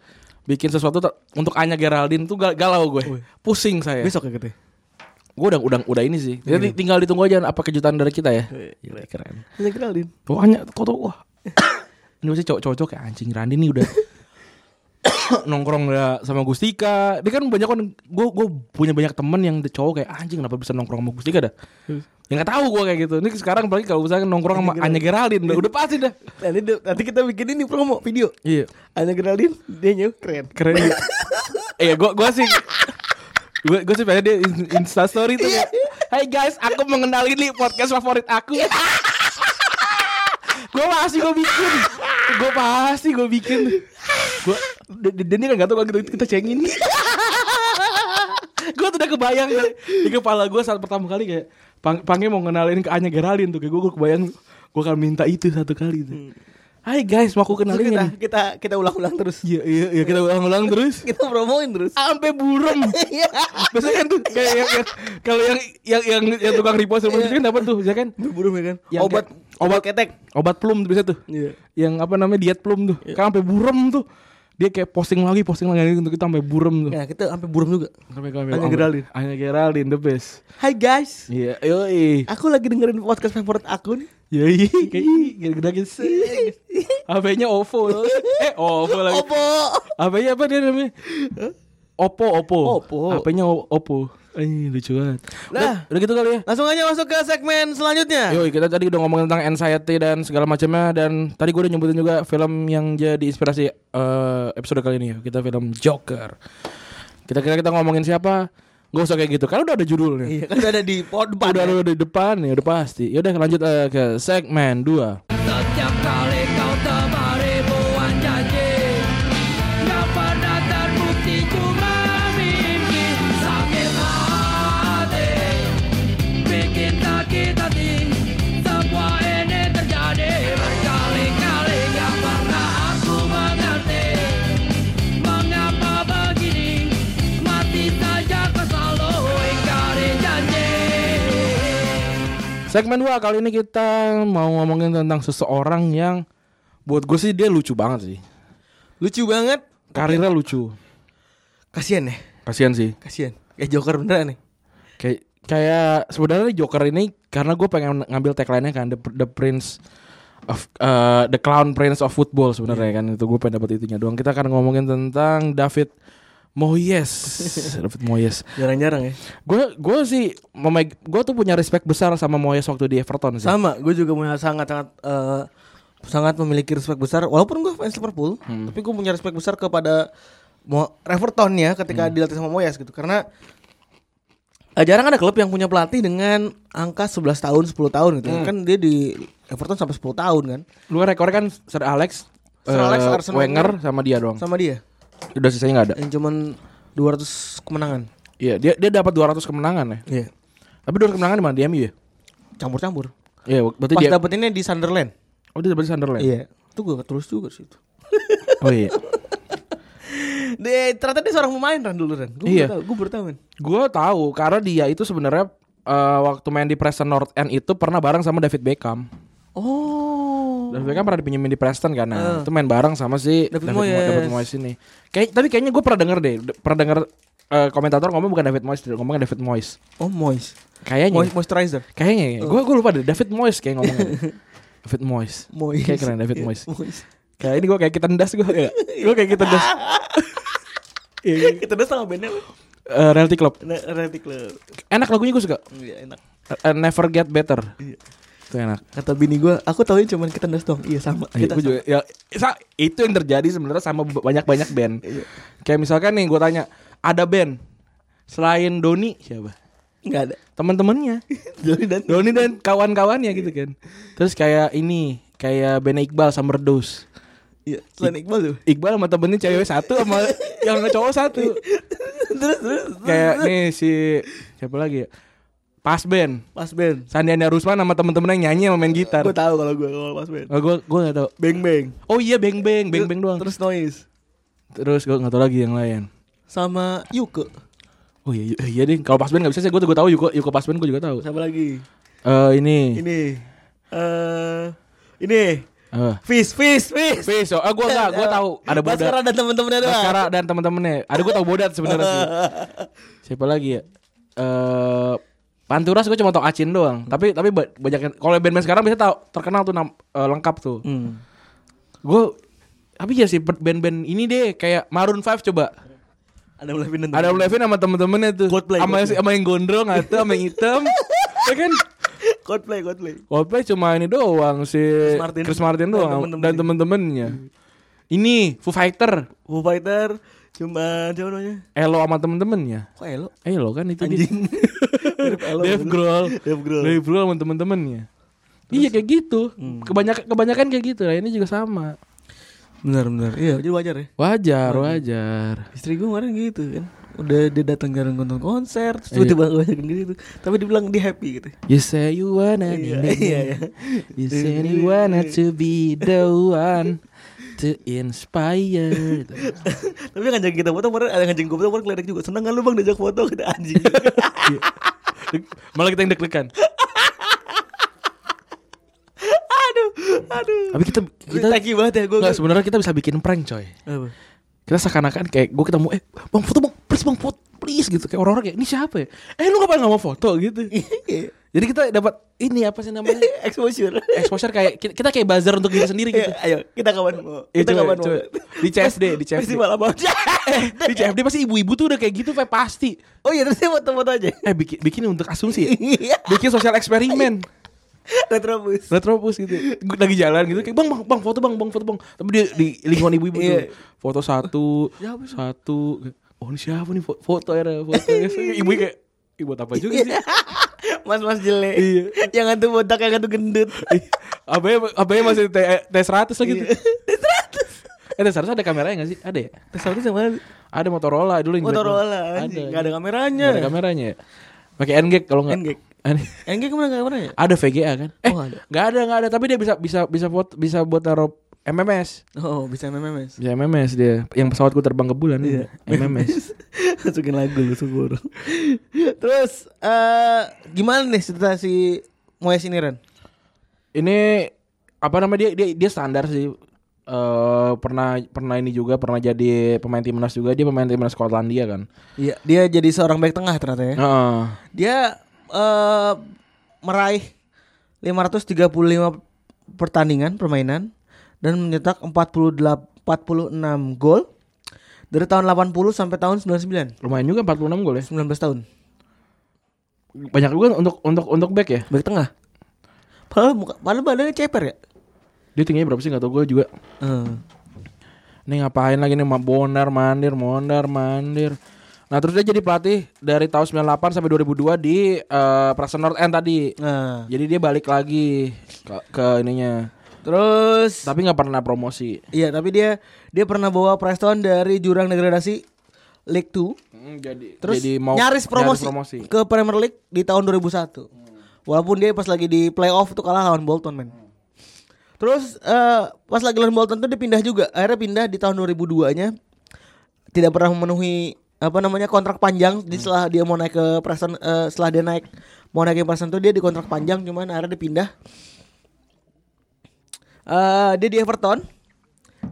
Speaker 3: bikin sesuatu t- untuk Anya Geraldine tuh gal- galau gue. Pusing saya.
Speaker 2: Besok ya gitu.
Speaker 3: Gue udah udah udah ini sih.
Speaker 2: Iya.
Speaker 3: Jadi tinggal ditunggu aja apa kejutan dari kita ya. Gila keren.
Speaker 2: Hanya kenalin.
Speaker 3: Wah, hanya kok tuh wah. ini pasti cowok cocok ya anjing Randi nih udah nongkrong udah sama Gustika. Dia kan banyak kan gue gue punya banyak temen yang cowok kayak anjing kenapa bisa nongkrong sama Gustika dah. Yang nggak tahu gue kayak gitu. Ini sekarang apalagi kalau misalnya nongkrong sama Anya Geraldine udah, udah pasti dah.
Speaker 2: Nanti, Nah, nanti kita bikin ini promo video.
Speaker 3: Iya.
Speaker 2: Hanya kenalin, dia nyew keren.
Speaker 3: Keren. ya. Iya, gua gua sih gua gua sih pengen dia in- Insta story tuh. kayak, Hai guys, aku mengenal ini podcast favorit aku. gua pasti gua bikin. Gua pasti gua bikin. Gua dan dan dia kan gak tau kalau kita, kita cengin. gua tuh udah kebayang dari- di kepala gua saat pertama kali kayak Pang, Pange mau kenalin ke Anya Geraldine tuh kayak gua, gua kebayang gua akan minta itu satu kali tuh. Hai guys, mau aku
Speaker 2: Terus
Speaker 3: kenalin
Speaker 2: kita,
Speaker 3: ya nih.
Speaker 2: kita kita ulang-ulang terus.
Speaker 3: Iya, iya, iya, kita ulang-ulang terus
Speaker 2: Kita promoin terus.
Speaker 3: sampai burem.
Speaker 2: Iya.
Speaker 3: Biasanya kan tuh kayak yang, yang- kalau yang yang yang, yang tukang repost sama itu kan dapat tuh, ya kan?
Speaker 2: Buru ya kan.
Speaker 3: Yang
Speaker 2: obat
Speaker 3: kayak-
Speaker 2: obat ketek.
Speaker 3: Obat plum tuh biasa tuh.
Speaker 2: Iya.
Speaker 3: Yang apa namanya diet plum tuh. Kan sampai burem tuh. Dia kayak posting lagi, posting lagi untuk kita sampai burem tuh.
Speaker 2: Nah, kita sampai buram juga.
Speaker 3: Iya. Sampai sampai-
Speaker 2: Hanya
Speaker 3: sampai-
Speaker 2: Geraldine.
Speaker 3: Hanya Geraldine the best.
Speaker 2: Hai guys.
Speaker 3: Iya, yoi.
Speaker 2: Aku lagi dengerin podcast favorit aku nih.
Speaker 3: Yoi, kayak gitu. gede-gede HP-nya OVO. Eh, OVO lagi.
Speaker 2: Opo.
Speaker 3: Apa apa dia namanya? Oppo, Oppo.
Speaker 2: Oppo.
Speaker 3: HP-nya O- Oppo. Eh, lucu banget.
Speaker 2: Nah.
Speaker 3: Udah, udah gitu kali ya.
Speaker 2: Langsung aja masuk ke segmen selanjutnya.
Speaker 3: Yoi, kita tadi udah ngomongin tentang anxiety dan segala macamnya dan tadi gue udah nyebutin juga film yang jadi inspirasi eh, episode kali ini ya. Kita film Joker. Kita kira kita ngomongin siapa? Gak usah kayak gitu. Kan udah ada judulnya.
Speaker 2: Iya, kan udah ada di pod depan.
Speaker 3: Udah ada di depan ya udah pasti. Ya udah lanjut eh, ke segmen 2.
Speaker 4: Setiap kali kau tebar ribuan janji Yang pernah terbukti cuma mimpi Sakit hati Bikin sakit hati Semua ini terjadi Berkali-kali gak pernah aku mengerti Mengapa begini Mati saja kau selalu ingkari janji
Speaker 3: Segmen 2 kali ini kita mau ngomongin tentang seseorang yang buat gue sih dia lucu banget sih.
Speaker 2: Lucu banget.
Speaker 3: Karirnya lucu.
Speaker 2: Kasian ya.
Speaker 3: Kasihan sih.
Speaker 2: Kasian. Kayak Joker beneran ya. nih.
Speaker 3: Kayak kayak sebenarnya Joker ini karena gue pengen ngambil tagline-nya kan the, the Prince of uh, the Clown Prince of Football sebenarnya
Speaker 2: Iya.
Speaker 3: kan itu gue pengen dapat itunya doang. Kita akan ngomongin tentang David Moyes. David Moyes.
Speaker 2: Jarang-jarang ya.
Speaker 3: Gue gue sih memeg- gue tuh punya respect besar sama Moyes waktu di Everton sih.
Speaker 2: Sama, gue juga punya sangat-sangat eh, sangat memiliki respect besar. Walaupun gue fans Liverpool,
Speaker 3: Hmm.
Speaker 2: tapi gue
Speaker 3: Hmm.
Speaker 2: punya respect besar kepada Mo Everton ya ketika dilatih sama Moyes gitu. Karena eh, jarang ada klub yang punya pelatih dengan angka 11 tahun, 10 tahun gitu.
Speaker 3: Hmm.
Speaker 2: Kan dia di Everton sampai 10 tahun kan
Speaker 3: Lu kan rekor kan Sir Alex,
Speaker 2: Sir
Speaker 3: eh,
Speaker 2: Alex, Arsene
Speaker 3: Wenger sama dia doang.
Speaker 2: sama dia.
Speaker 3: Udah sisanya nggak ada.
Speaker 2: Yang cuman 200 kemenangan.
Speaker 3: Iya, dia dia dapat 200 kemenangan ya.
Speaker 2: Iya.
Speaker 3: Tapi 200 kemenangan di mana? Di MU ya?
Speaker 2: Campur-campur.
Speaker 3: Iya, berarti
Speaker 2: Pas
Speaker 3: dia
Speaker 2: dapetinnya di Sunderland.
Speaker 3: Oh, dia dapat di Sunderland.
Speaker 2: Iya. Itu gue ketulis juga sih itu.
Speaker 3: Oh iya.
Speaker 2: Dia ternyata dia seorang pemain Ran dulu Ran. Gue
Speaker 3: Iya.
Speaker 2: baru tahu, gue baru tahu kan.
Speaker 3: Gua tahu karena dia itu sebenarnya eh, waktu main di Preston North End itu pernah bareng sama David Beckham.
Speaker 2: Oh.
Speaker 3: David Beckham pernah dipinjemin di Preston kan. Nah, itu main bareng sama si
Speaker 2: Eh. David
Speaker 3: David,
Speaker 2: Moyes.
Speaker 3: Moyes. David Moyes ini. Kayak tapi kayaknya gue pernah denger deh, d- pernah denger eh, komentator ngomong bukan David Moyes, dia ngomong David Moyes.
Speaker 2: Oh moist.
Speaker 3: Kayaknya.
Speaker 2: Moist moisturizer.
Speaker 3: Kayaknya.
Speaker 2: Oh.
Speaker 3: Gue gue lupa deh David Moyes kayak ngomongnya. David Moyes.
Speaker 2: Moist.
Speaker 3: Kayak keren David
Speaker 2: Iya,
Speaker 3: Moyes.
Speaker 2: moist.
Speaker 3: Kayak ini gue kayak ketendas gue. Gue kayak ketendas.
Speaker 2: Kita udah sama bandnya lu.
Speaker 3: Eh, Reality Club.
Speaker 2: Nah, Nanti club.
Speaker 3: Enak lagunya gue suka.
Speaker 2: Iya enak.
Speaker 3: Eh, eh, Never Get Better.
Speaker 2: Iya.
Speaker 3: Itu enak.
Speaker 2: Kata bini gue, aku taunya cuman kita ndas dong. Iya sama.
Speaker 3: Iya,
Speaker 2: Kita
Speaker 3: gua juga, ya, sa- itu yang terjadi sebenarnya sama b- banyak-banyak band.
Speaker 2: Iya.
Speaker 3: Kayak misalkan nih gue tanya, ada band selain Doni siapa?
Speaker 2: Enggak ada.
Speaker 3: Teman-temannya.
Speaker 2: Doni dan
Speaker 3: Doni dan kawan-kawannya gitu kan. Terus kayak ini, kayak band Iqbal Summer Dose.
Speaker 2: Iya, selain Iqbal tuh.
Speaker 3: Iqbal sama temennya cewek satu sama yang cowok satu.
Speaker 2: terus terus
Speaker 3: Kayak nih si siapa lagi ya? Pas band.
Speaker 2: Mas Ben.
Speaker 3: Sandiana Rusman sama temen-temen yang nyanyi sama main gitar.
Speaker 2: Gue tahu kalau gue kalau Mas Ben.
Speaker 3: Oh, gue gue gak tau.
Speaker 2: Beng beng.
Speaker 3: Oh iya Beng Beng, Beng Beng doang. Terus,
Speaker 2: Terus noise.
Speaker 3: terus gue gak tau lagi yang lain.
Speaker 2: Sama Yuke.
Speaker 3: Oh iya, iya, iya deh. Kalau pasben nggak bisa sih. Gue gue tahu Yuko Yuko pasben gue juga tahu. Eh
Speaker 2: Siapa lagi?
Speaker 3: ini.
Speaker 2: Ini. Eh ini.
Speaker 3: Eh.
Speaker 2: Fis, Fis, Fis.
Speaker 3: Besok. Ah gue nggak. Gue tahu ada bodat.
Speaker 2: Baskara dan teman-temannya doang.
Speaker 3: Baskara dan teman-temannya. Ada gue tahu bodat sebenarnya sih. Siapa lagi ya? Eh Panturas gue cuma tau Acin doang. Tapi tapi ba- banyak yang- kalau band-band sekarang biasanya tahu terkenal tuh nam- eh, lengkap tuh.
Speaker 2: Hmm.
Speaker 3: Gue tapi ya sih per- band-band ini deh kayak Maroon 5 coba.
Speaker 2: Ada Levin dan
Speaker 3: Adam Levine sama temen-temennya tuh.
Speaker 2: Coldplay,
Speaker 3: Sama
Speaker 2: Coldplay.
Speaker 3: sama yang gondrong atau sama yang hitam. ya kan?
Speaker 2: Coldplay, Coldplay.
Speaker 3: Coldplay cuma ini doang si Chris
Speaker 2: Martin. Dan
Speaker 3: Martin, doang
Speaker 2: temen-temen.
Speaker 3: dan temen-temennya. Ini Foo Fighter,
Speaker 2: Foo Fighter cuma siapa namanya?
Speaker 3: Elo sama temen-temennya.
Speaker 2: Kok elo?
Speaker 3: Elo kan itu dia.
Speaker 2: Anjing. Mirip elo. kan.
Speaker 3: Dave Grohl.
Speaker 2: Dave Grohl. Hmm.
Speaker 3: Dave Grohl sama temen-temennya. Iya kayak gitu. Kebanyakan kebanyakan kayak gitu. Nah, ini juga sama.
Speaker 2: Benar, benar. Iya, jadi wajar ya.
Speaker 3: Wajar, wajar.
Speaker 2: Istri gue kemarin gitu kan. Udah dia datang jarang nonton konser,
Speaker 3: Iya.
Speaker 2: terus tiba-tiba gue ajakin gitu. Tapi dibilang dia happy gitu.
Speaker 3: You say you wanna be
Speaker 2: Iya,
Speaker 3: me.
Speaker 2: iya, iya.
Speaker 3: You say you wanna to be the one to inspire.
Speaker 2: Tapi yang ngajakin kita foto kemarin ada yang ngajakin gue foto kemarin kledek juga. Seneng kan lu Bang diajak foto kita anjing.
Speaker 3: Malah kita yang deg-degan.
Speaker 2: aduh, aduh.
Speaker 3: Tapi kita kita
Speaker 2: Thank you banget ya gue.
Speaker 3: Nggak, sebenarnya kita bisa bikin prank coy
Speaker 2: Apa?
Speaker 3: kita seakan-akan kayak gue ketemu eh bang foto bang please bang foto please gitu kayak orang-orang kayak ini siapa ya eh lu ngapain nggak mau foto gitu jadi kita dapat ini apa sih namanya
Speaker 2: Exposure.
Speaker 3: exposure kayak kita, kita kayak buzzer untuk diri sendiri gitu
Speaker 2: Iya, ayo kita kawan mau.
Speaker 3: Iya,
Speaker 2: Kita
Speaker 3: coba,
Speaker 2: kawan mau. Eh,
Speaker 3: coba. Di CFD, di CFD.
Speaker 2: Festival apa?
Speaker 3: "Eh, di CFD pasti ibu-ibu tuh udah kayak gitu kayak pasti
Speaker 2: Oh iya, terus dia foto-foto aja.
Speaker 3: eh bikin bikin untuk asumsi ya bikin sosial eksperimen
Speaker 2: Retrobus.
Speaker 3: retrobus gitu Gua lagi jalan gitu kayak bang bang bang foto bang bang foto bang tapi dia di lingkungan ibu-ibu
Speaker 2: Iya.
Speaker 3: tuh foto satu
Speaker 2: Siapa sih?
Speaker 3: satu oh ini siapa nih Fo- foto era foto ibu kayak ibu buat apa juga
Speaker 2: Iya.
Speaker 3: sih
Speaker 2: Mas-mas jelek.
Speaker 3: Iya.
Speaker 2: Yang satu botak, yang satu gendut.
Speaker 3: apa ya apa ya masih T T100 lagi
Speaker 2: Iya.
Speaker 3: tuh. Eh T100 ada kameranya gak sih? Ada ya?
Speaker 2: Terus satu sama
Speaker 3: Ada Motorola dulu yang jelek
Speaker 2: Motorola
Speaker 3: banget.
Speaker 2: anjing, nggak ada kameranya.
Speaker 3: Nggak ada kameranya ya? Pakai NGEG kalau nggak
Speaker 2: NGEG.
Speaker 3: Aneh.
Speaker 2: Enggak kemana ya? nggak kameranya?
Speaker 3: Ada VGA kan? Eh
Speaker 2: Oh, ada.
Speaker 3: nggak ada nggak ada tapi dia bisa bisa bisa buat bisa buat taruh MMS.
Speaker 2: Oh bisa MMS.
Speaker 3: Bisa MMS dia. Yang pesawatku terbang ke bulan
Speaker 2: Iya.
Speaker 3: MMS.
Speaker 2: Masukin lagu lu syukur. Terus eh gimana nih cerita si Moyes ini Ren?
Speaker 3: Ini apa namanya dia dia dia standar sih. Eh pernah pernah ini juga pernah jadi pemain timnas juga dia pemain timnas Skotlandia kan.
Speaker 2: Iya, dia jadi seorang back tengah ternyata ya.
Speaker 3: Heeh.
Speaker 2: Dia eh meraih 535 pertandingan permainan dan mencetak 48 46 gol dari tahun 80 sampai tahun 99.
Speaker 3: Lumayan juga 46 gol ya.
Speaker 2: 19 tahun.
Speaker 3: Banyak juga untuk untuk untuk back ya.
Speaker 2: Back tengah. Padahal muka, padahal badannya ceper ya.
Speaker 3: Dia tingginya berapa sih nggak tau gue juga.
Speaker 2: Eh.
Speaker 3: Nih ngapain lagi nih ma- bondar mandir mondar mandir. Nah terus dia jadi pelatih dari tahun 98 sampai 2002 di eh, Prasa North End tadi.
Speaker 2: Nah,
Speaker 3: Jadi dia balik lagi ke, ke ininya.
Speaker 2: terus
Speaker 3: Tapi nggak pernah promosi.
Speaker 2: iya tapi dia dia pernah bawa Preston dari jurang degradasi League 2
Speaker 3: Hmm, Jadi
Speaker 2: terus
Speaker 3: jadi mau
Speaker 2: nyaris, promosi ke Premier League di tahun 2001. Walaupun dia pas lagi di playoff tuh kalah lawan Bolton men. Terus eh, pas lagi lawan Bolton tuh dia pindah juga. Akhirnya pindah di tahun 2002-nya. Tidak pernah memenuhi apa namanya kontrak panjang
Speaker 3: Hmm.
Speaker 2: di setelah dia mau naik ke Preston eh, setelah dia naik mau naik ke Preston tuh dia di kontrak panjang cuman akhirnya dia pindah. Eh, dia di Everton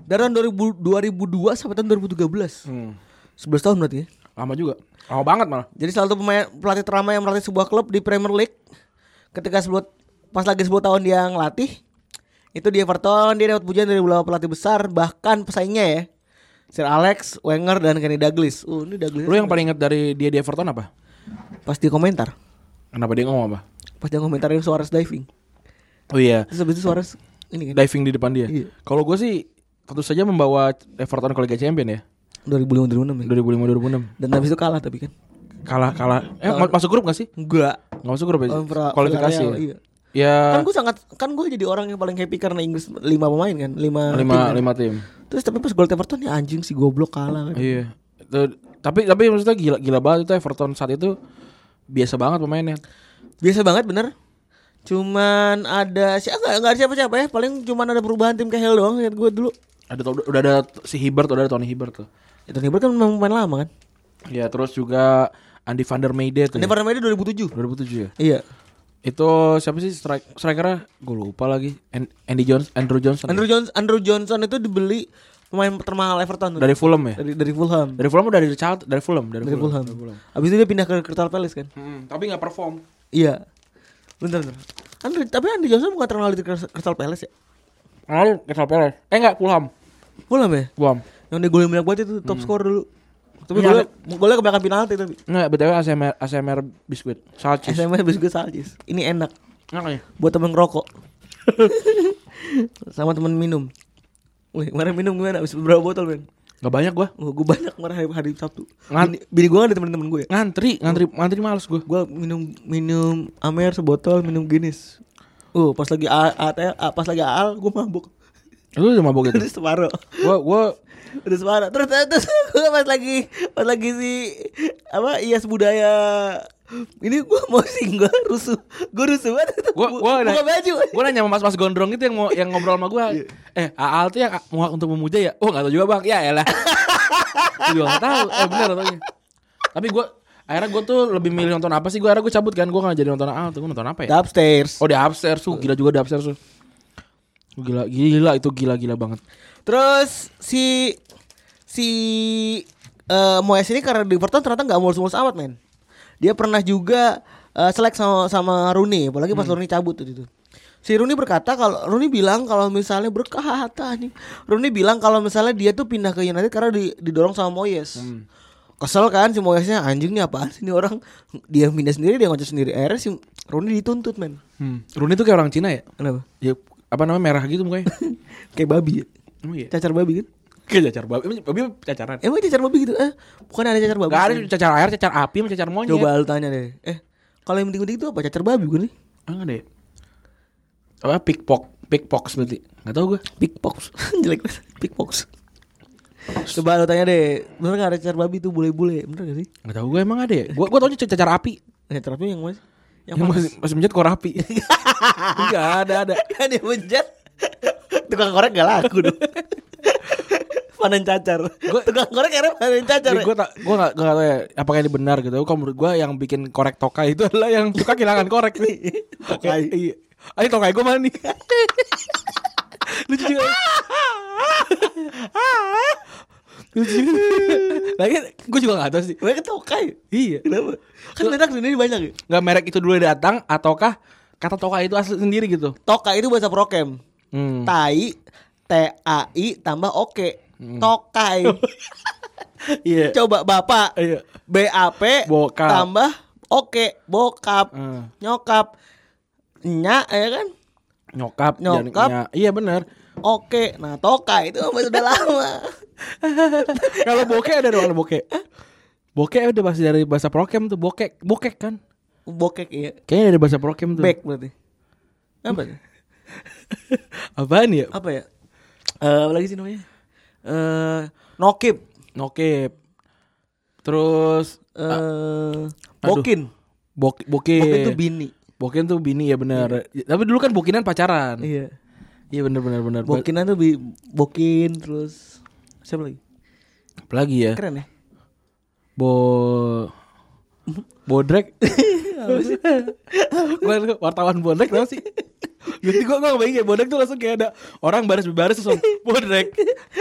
Speaker 2: dari tahun 2000 2002 sampai tahun 2013.
Speaker 3: Hmm.
Speaker 2: 11 tahun berarti ya.
Speaker 3: Lama juga. Lama banget malah.
Speaker 2: Jadi salah satu pemain pelatih terlama yang melatih sebuah klub di Premier League ketika sebelum pas lagi 10 tahun dia ngelatih itu di Everton dia dapat pujian dari beberapa pelatih besar bahkan pesaingnya ya Sir Alex Wenger dan Kenny Douglas. Uh, ini Douglas.
Speaker 3: Lu yang paling inget dari dia di Everton apa?
Speaker 2: pas di komentar,
Speaker 3: Kenapa dia ngomong apa?
Speaker 2: pas dia komentarin Suarez diving.
Speaker 3: Oh iya.
Speaker 2: Terus habis itu Suarez ini kan
Speaker 3: Diving di depan dia.
Speaker 2: Iya.
Speaker 3: Kalau gue sih tentu saja membawa Everton ke Liga Champion ya.
Speaker 2: 2005 2006 ya.
Speaker 3: 2005 2006.
Speaker 2: Dan habis itu kalah tapi kan.
Speaker 3: Kalah kalah. Eh ma- masuk grup gak sih?
Speaker 2: Enggak.
Speaker 3: Gak masuk grup ya?
Speaker 2: Lawan Fra-
Speaker 3: Kualifikasi.
Speaker 2: Villarreal, iya.
Speaker 3: Ya.
Speaker 2: Kan gue sangat kan gue jadi orang yang paling happy karena Inggris 5 pemain kan, 5
Speaker 3: lima lima tim. ya?
Speaker 2: Terus tapi pas gol Everton ya anjing si goblok kalah kan.
Speaker 3: Iya. Itu- tapi tapi maksudnya gila gila banget itu Everton saat itu biasa banget pemainnya.
Speaker 2: Biasa banget bener Cuman ada si enggak enggak ada siapa-siapa ya, paling cuman ada perubahan tim Cahill doang lihat gue dulu.
Speaker 3: Ada to- udah ada si Hibbert, udah ada Tony Hibbert tuh.
Speaker 2: Itu Nibir kan memang pemain lama kan.
Speaker 3: Ya terus juga Andy van der Meijde tuh.
Speaker 2: Dia
Speaker 3: ya.
Speaker 2: pernah main di 2007.
Speaker 3: 2007 ya.
Speaker 2: Iya.
Speaker 3: Itu siapa sih strike strikernya? Gue lupa lagi. An- Andy Jones, Andrew Johnson. ya?
Speaker 2: Andrew Johnson Andrew Johnson itu dibeli pemain termahal Everton tuh.
Speaker 3: dari Fulham ya.
Speaker 2: dari, dari Fulham.
Speaker 3: Dari Fulham udah dari Charlton, dari Fulham, dari,
Speaker 2: Dari
Speaker 3: Fulham.
Speaker 2: Fulham. Habis itu dia pindah ke Crystal Palace kan.
Speaker 3: Hmm, tapi nggak perform.
Speaker 2: Iya. Bentar, bentar. Andrew, tapi Andrew Johnson bukan terkenal di Crystal Palace ya?
Speaker 3: Lalu Crystal Palace. Eh nggak Fulham.
Speaker 2: Fulham ya?
Speaker 3: Fulham.
Speaker 2: Yang dia golin banyak banget itu top skor dulu. Tapi
Speaker 3: Iya,
Speaker 2: golnya golnya kebanyakan penalti tapi.
Speaker 3: Nggak btw ASMR ASMR biskuit. Salcis.
Speaker 2: SMA habis gue salcis. Ini enak.
Speaker 3: Nggak ya.
Speaker 2: buat temen ngerokok sama temen minum Wih, kemarin minum gimana? Habis berapa botol, men?
Speaker 3: Nggak banyak gua.
Speaker 2: Wah, gue banyak kemarin hari, hari Sabtu. Bini,
Speaker 3: Ngan-
Speaker 2: bini gue ada temen-temen gue.
Speaker 3: Ngantri, ngantri, ngantri males gue.
Speaker 2: Gue minum minum Amer sebotol, minum Guinness. Uh, pas lagi A- ATL, A- pas lagi AL, gue mabuk.
Speaker 3: Lu udah mabok gitu?
Speaker 2: Udah separuh.
Speaker 3: Gue, gue
Speaker 2: Udah separuh. Terus terus gue pas lagi pas lagi si apa? Ias budaya. Ini gue mau sing gue rusuh. Gue rusuh banget.
Speaker 3: Gua-
Speaker 2: Buka
Speaker 3: gua Eh. nanya-
Speaker 2: baju.
Speaker 3: gue nanya sama mas-mas gondrong itu yang mau yang ngobrol
Speaker 2: Iya.
Speaker 3: sama gue. Eh, Aal tuh yang a- muak untuk memuja ya? Oh, nggak tahu juga bang. Ya elah. Gua juga nggak tahu. Eh bener katanya. Tapi gue akhirnya gue tuh lebih milih nonton apa sih? Gue akhirnya gue cabut kan. Gue nggak jadi nonton Aal tuh. Gue nonton apa ya?
Speaker 2: Upstairs.
Speaker 3: Oh di upstairs tuh. Gila juga di upstairs tuh. Gila, gila itu gila-gila banget.
Speaker 2: Terus si si eh Moyes ini karena di Everton ternyata nggak mulus-mulus amat men. Dia pernah juga eh, selek sama sama Rooney, apalagi pas Rooney cabut tuh itu. Si Rooney berkata kalau Rooney bilang kalau misalnya berkata nih. Rooney bilang kalau misalnya dia tuh pindah ke United karena di- didorong sama Moyes. Kesel kan si Moyesnya anjing nih apaan sih ini orang dia pindah sendiri dia ngoceh sendiri akhirnya si Rooney dituntut men
Speaker 3: Hmm. Rooney tuh kayak orang Cina ya?
Speaker 2: kenapa
Speaker 3: Ya apa namanya merah gitu mukanya.
Speaker 2: kayak babi ya?
Speaker 3: Emang iya?
Speaker 2: cacar babi kan
Speaker 3: Kayak cacar babi. Emang babi cacaran.
Speaker 2: emang cacar babi gitu eh bukan ada cacar babi
Speaker 3: Gak ada
Speaker 2: sih?
Speaker 3: cacar air, cacar api, sama cacar monyet.
Speaker 2: Coba lu tanya deh. Eh, kalau yang penting-penting itu apa? Cacar babi bukan nih?
Speaker 3: Ah, Enggak deh. Apa pickpock, pickpock berarti. Enggak tahu gue.
Speaker 2: Pickpox. Jelek banget. Pickpox. Coba lu tanya deh. Bener gak ada cacar babi tuh bule-bule? Bener gak sih?
Speaker 3: Enggak tahu gue emang ada ya. Gue gue taunya c- cacar api.
Speaker 2: Cacar babi yang mana sih? Yang
Speaker 3: Yang masih masih menjat kor api. Enggak ada ada.
Speaker 2: kan dia menjat. Tukang korek gak laku dong. panen cacar. Tukang korek akhirnya panen cacar.
Speaker 3: Gue tak gue gak, gak tahu ya apakah ini benar gitu. Kalau menurut gue yang bikin korek tokai itu adalah yang suka kehilangan korek nih.
Speaker 2: Tokai.
Speaker 3: Iya. Ayo tokai gue mana nih? Lucu juga. Lucu juga. Lagi gue juga gak tahu sih.
Speaker 2: Mereka tokai.
Speaker 3: Iya.
Speaker 2: Kenapa? Kan mereka di sini banyak ya?
Speaker 3: nggak merek itu dulu datang ataukah kata toka itu asli sendiri gitu
Speaker 2: Tokai itu bahasa prokem.
Speaker 3: hmm.
Speaker 2: Tai. T-A-I tambah oke. Tokai.
Speaker 3: Hmm. iya
Speaker 2: Coba bapak.
Speaker 3: iya
Speaker 2: BAP
Speaker 3: Bokap.
Speaker 2: tambah oke bokap
Speaker 3: Eh,
Speaker 2: nyokap nyak ya kan
Speaker 3: nyokap
Speaker 2: Nyokap.
Speaker 3: jangan nyak. iya benar
Speaker 2: oke nah toka itu mah sudah lama
Speaker 3: kalau bokeh ada dong kalau bokeh Bokek udah pasti dari bahasa prokem tuh bokek, bokek kan?
Speaker 2: Bokek iya.
Speaker 3: Kayaknya dari bahasa prokem tuh.
Speaker 2: Back berarti. Apa? tuh?
Speaker 3: Apaan ya?
Speaker 2: Apa ya? Eh apa lagi sih namanya? Eh nokip.
Speaker 3: Nokep. Terus
Speaker 2: Eh bokin.
Speaker 3: bok boke.
Speaker 2: Bokin tuh bini.
Speaker 3: Bokin tuh bini ya benar. Tapi dulu kan bokinan pacaran.
Speaker 2: Iya.
Speaker 3: Iya benar benar benar.
Speaker 2: Bokinan tuh bi- bokin terus siapa lagi?
Speaker 3: Apalagi ya.
Speaker 2: Keren ya.
Speaker 3: Bo Bodrek. Gua tuh wartawan Bodrek tau sih. Jadi gua gua ngebayangin kayak Bodrek tuh langsung kayak ada orang baris berbaris langsung Bodrek.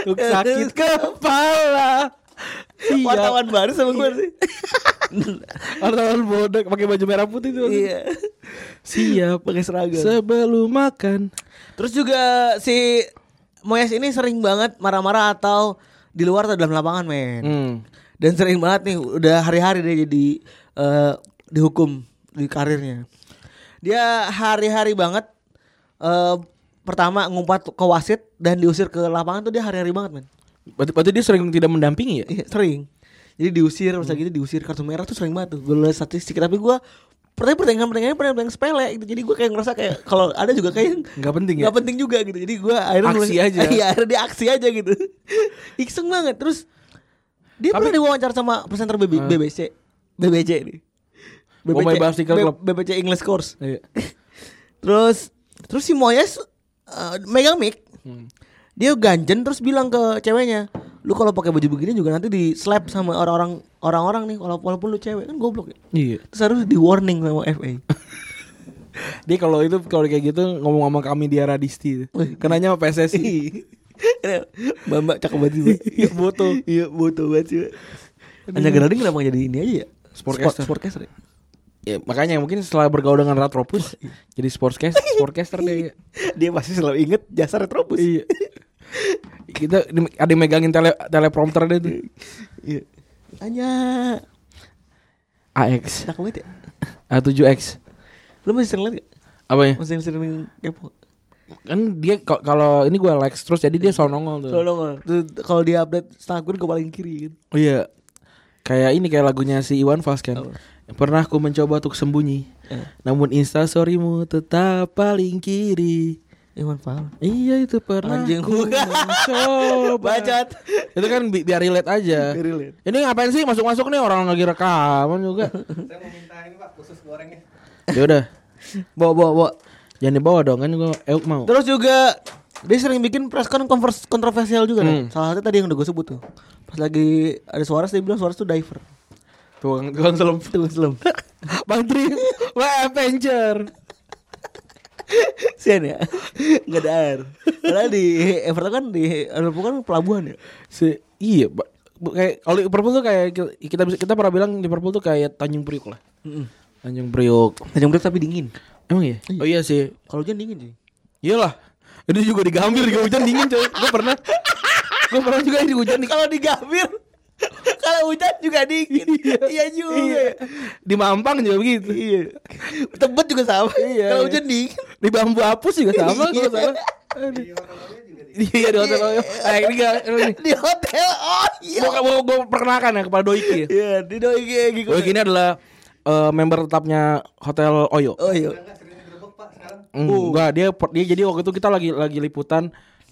Speaker 3: Tuh sakit kepala. Eh, Iya.
Speaker 2: Wartawan baru sama gue sih.
Speaker 3: wartawan Bodrek pakai baju merah putih tuh. langsung.
Speaker 2: iya.
Speaker 3: Siap
Speaker 2: Pakai seragam.
Speaker 3: sebelum makan.
Speaker 2: Terus juga si Moyes ini sering banget marah-marah atau di luar atau dalam lapangan, men.
Speaker 3: Hmm.
Speaker 2: Dan sering banget nih udah hari-hari dia jadi eh, dihukum di karirnya. Dia hari-hari banget eh, pertama ngumpat ke wasit dan diusir ke lapangan tuh dia hari-hari banget, men.
Speaker 3: Berarti, berarti dia sering tidak mendampingi ya?
Speaker 2: Iya, sering. Jadi diusir, masa gitu diusir kartu merah tuh sering banget tuh. Gue liat statistik tapi gue pertanyaan pertandingan pertandingan pertandingan sepele gitu. Jadi gue kayak ngerasa kayak kalau ada juga kayak
Speaker 3: Nggak penting ya?
Speaker 2: Nggak penting juga gitu. Jadi gue akhirnya
Speaker 3: Aksi
Speaker 2: nulis-
Speaker 3: aja.
Speaker 2: Iya akhirnya dia aksi aja gitu. Ikseng banget. Terus dia
Speaker 3: Tapi-
Speaker 2: pernah diwawancara sama presenter BB, BBC, BBC nih.
Speaker 3: Oh my Bicycle Club.
Speaker 2: BBC English Course.
Speaker 3: Iya.
Speaker 2: Terus terus si Moyes eh, megang mic. Dia ganjen terus bilang ke ceweknya, "Lu kalau pakai baju begini juga nanti di slap sama orang-orang orang-orang nih kalau walaupun lu cewek kan goblok ya."
Speaker 3: Iya.
Speaker 2: Terus harus di warning sama FA.
Speaker 3: Dia kalau itu kalau kayak gitu ngomong sama kami dia radisti. Kenanya sama PSSI.
Speaker 2: Mbak-mbak cakep banget sih. Iya boto. Iya boto banget sih. Hanya Geraldine kenapa nggak jadi ini aja ya?
Speaker 3: Sportcaster.
Speaker 2: Sport- Sportcaster. ya?
Speaker 3: ya, makanya mungkin setelah bergaul dengan Ratropus jadi sportscast sportcaster dia.
Speaker 2: Dia pasti selalu inget jasa retrobus.
Speaker 3: Iya. Kita di- ada yang megangin tele teleprompter dia tuh.
Speaker 2: Iya. Hanya
Speaker 3: AX
Speaker 2: cakep banget ya.
Speaker 3: A7X.
Speaker 2: Lu masih sering liat gak?
Speaker 3: Apanya?
Speaker 2: Masih sering kepo.
Speaker 3: ya? Kan dia ko- kalau ini gua likes terus jadi dia selalu nongol tuh.
Speaker 2: Selalu nggak? Terus Kalau dia update Instagram gue paling kiri kan.
Speaker 3: Oh iya. Kayak ini kayak lagunya si Iwan Fals kan. Pernah ku mencoba untuk sembunyi. Namun Insta storymu tetap paling kiri.
Speaker 2: Iwan Fals.
Speaker 3: Iya itu pernah.
Speaker 2: Anjing.
Speaker 3: ku mencoba.
Speaker 2: Bacot.
Speaker 3: Itu kan bi- biar relate aja.
Speaker 2: Biar relate.
Speaker 3: Ini ngapain sih masuk-masuk nih orang lagi rekaman juga.
Speaker 5: Saya mau minta ini pak khusus gorengnya.
Speaker 3: ya udah.
Speaker 2: Bawa bawa bawa.
Speaker 3: Jangan dibawa dong kan gua euk mau.
Speaker 2: Terus juga dia sering bikin press con konvers- kontroversial juga kan. Salah satu tadi yang udah gue sebut tuh. Pas lagi ada suara dia bilang suara tuh diver.
Speaker 3: Tukang tukang selam.
Speaker 2: Tuh Islam.
Speaker 3: Bang Tri. Wah, Avenger.
Speaker 2: Sian ya. Enggak ada air. Padahal di Everton kan di Liverpool kan pelabuhan ya.
Speaker 3: Si iya, ba- bu- kayak kalau Liverpool tuh kayak ki- kita bisa kita pernah bilang Liverpool tuh kayak Tanjung Priuk lah. Tanjung Priuk.
Speaker 2: Tanjung Priok tapi dingin.
Speaker 3: Emang ya? Oh iya sih.
Speaker 2: Kalau hujan dingin sih.
Speaker 3: Iyalah. Itu juga digambir di hujan dingin coy. Gue pernah. Gue pernah juga di hujan di
Speaker 2: Kalau di Gambir kalau hujan juga dingin. iya juga.
Speaker 3: Iya. Di Mampang juga begitu. Iya.
Speaker 2: Tebet juga sama.
Speaker 3: Iya,
Speaker 2: Kalau
Speaker 3: iya.
Speaker 2: hujan dingin. Iya.
Speaker 3: Di bambu apus juga sama kalau nggak salah. Aduh. Iya di hotel Oyo. Eh ini gak ini.
Speaker 2: Di hotel. Oh iya.
Speaker 3: Gue gue gue perkenalkan ya kepada Doiki. ya.
Speaker 2: Iya, di doi gigi.
Speaker 3: Doiki ini adalah eh, member tetapnya Hotel Oyo. Hmm,
Speaker 2: Oh iya.
Speaker 5: Enggak sering digerebek pak sekarang.
Speaker 3: Enggak, dia per- dia jadi waktu itu kita lagi lagi liputan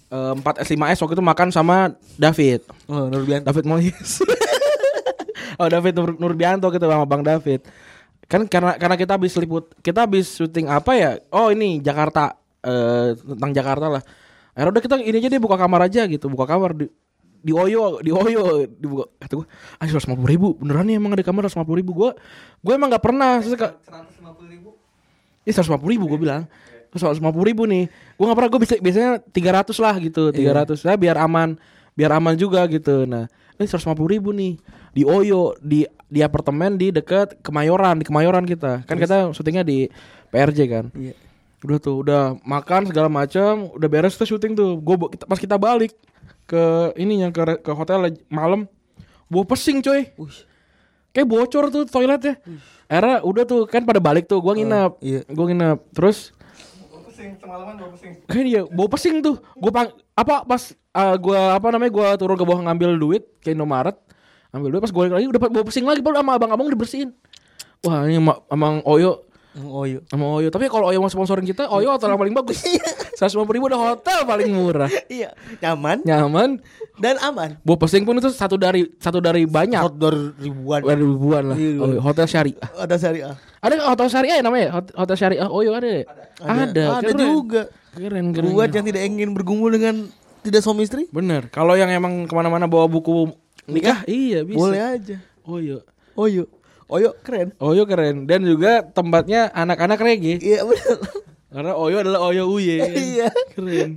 Speaker 3: eh, 4S5S waktu itu makan sama David.
Speaker 2: Oh, Nurbianto.
Speaker 3: David Moyes. oh, David Nur, Nurbianto gitu sama Bang David. Kan karena karena kita habis liput, kita habis syuting apa ya? Oh, ini Jakarta eh tentang Jakarta lah. Akhirnya udah kita ini aja deh buka kamar aja gitu, buka kamar di di Oyo, di Oyo dibuka kata gue, ah seratus ribu beneran nih emang ada kamar seratus ribu gue, gue emang nggak pernah Terus kayak,
Speaker 5: Seratus lima puluh ribu.
Speaker 3: ini seratus ribu gue bilang seratus ribu nih gue nggak pernah gue bisa biasanya 300 lah gitu 300 ratus nah, biar aman biar aman juga gitu nah ini seratus ribu nih di Oyo di di apartemen di dekat Kemayoran di Kemayoran kita kan kita syutingnya di PRJ kan
Speaker 2: Iya.
Speaker 3: udah tuh udah makan segala macam udah beres tuh syuting tuh gue pas kita balik ke ininya ke re- ke hotel malam gue pesing coy
Speaker 2: Ush.
Speaker 3: kayak bocor tuh toiletnya. Era udah tuh kan pada balik tuh gua nginep.
Speaker 2: iya.
Speaker 3: Gua nginep. Terus
Speaker 5: Gue pusing semalaman gue pusing.
Speaker 3: kan dia bau pesing tuh. ah, Gua pang apa pas eh, gua apa namanya gua turun ke bawah ngambil duit ke Indomaret. ambil duit pas gue balik lagi udah bawa pesing lagi baru sama abang-abang udah bersihin wah ini ma- emang Oyo
Speaker 2: Oh iya.
Speaker 3: sama Oyo tapi kalau Oyo mau sponsorin kita Oyo atau yang paling bagus 150 ribu udah hotel paling murah
Speaker 2: Iya, nyaman
Speaker 3: nyaman
Speaker 2: dan aman.
Speaker 3: bawa pesing pun itu satu dari satu dari banyak
Speaker 2: Outdoor ribuan.
Speaker 3: dari ribuan lah
Speaker 2: Iya.
Speaker 3: Oyo. hotel syariah
Speaker 2: Ada ah, syariah.
Speaker 3: ada nggak hotel syariah ya namanya Hot- hotel syariah Oyo ada ya? ada
Speaker 2: Ada
Speaker 3: keren.
Speaker 2: juga.
Speaker 3: keren keren
Speaker 2: Buat yang tidak ingin bergumul dengan tidak suami istri,
Speaker 3: bener kalau yang emang kemana-mana bawa buku nikah iya bisa
Speaker 2: boleh aja.
Speaker 3: Oyo
Speaker 2: Oh iya. Oyo keren.
Speaker 3: Oyo keren dan juga tempatnya anak-anak reggae
Speaker 2: Iya benar.
Speaker 3: Karena Oyo adalah Oyo Uye.
Speaker 2: Iya.
Speaker 3: Keren.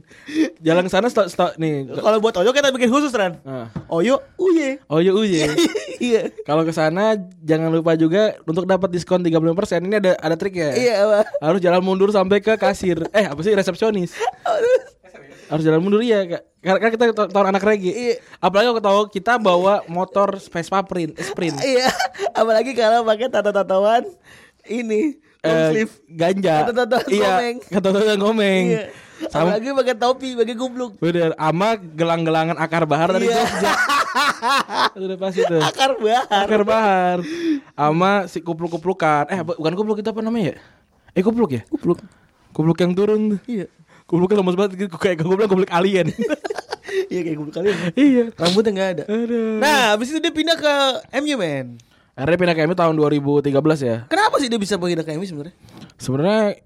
Speaker 3: Jalan ke sana stok stok nih.
Speaker 2: Kalau buat Oyo kita bikin khusus Ran.
Speaker 3: Nah,
Speaker 2: Oyo uye.
Speaker 3: Oyo Uye.
Speaker 2: Iya.
Speaker 3: Kalau ke sana jangan lupa juga untuk dapat diskon 35%. Ini ada ada trik ya.
Speaker 2: Iya, Pak.
Speaker 3: Harus jalan mundur sampai ke kasir. Eh, apa sih resepsionis? Harus jalan mundur ya, Kak. Karena karena kita ta- tahun anak reggae.
Speaker 2: Iya.
Speaker 3: Apalagi kalau tahu kita bawa motor Vespa Print, Sprint.
Speaker 2: Iya, apalagi kalau pakai tato-tatoan ini long
Speaker 3: Eh,
Speaker 2: sleeve.
Speaker 3: ganja.
Speaker 2: Kata-kataan ngomeng.
Speaker 3: iya, kata-kata ngomeng.
Speaker 2: Iya.
Speaker 3: Sama
Speaker 2: Apalagi pakai topi bagi goblok.
Speaker 3: Bener, ama gelang-gelangan akar bahar dari
Speaker 2: Iya.
Speaker 3: Jogja. Itu Udah pasti tuh.
Speaker 2: Akar bahar.
Speaker 3: Akar bahar. Ama si kupluk-kuplukan. Eh, bu- bukan kupluk itu apa namanya ya? Eh, kupluk ya? Kupluk. Kupluk yang turun. tuh.
Speaker 2: Iya.
Speaker 3: Kupluknya lemes banget gitu. kayak gue bilang kupluk alien.
Speaker 2: Iya kayak goblok kali. ini.
Speaker 3: iya.
Speaker 2: Rambutnya enggak ada.
Speaker 3: Aduh.
Speaker 2: Nah, habis itu dia pindah ke MU, men.
Speaker 3: Akhirnya pindah ke MU tahun 2013 ya.
Speaker 2: Kenapa sih dia bisa pindah ke MU sebenarnya?
Speaker 3: Sebenarnya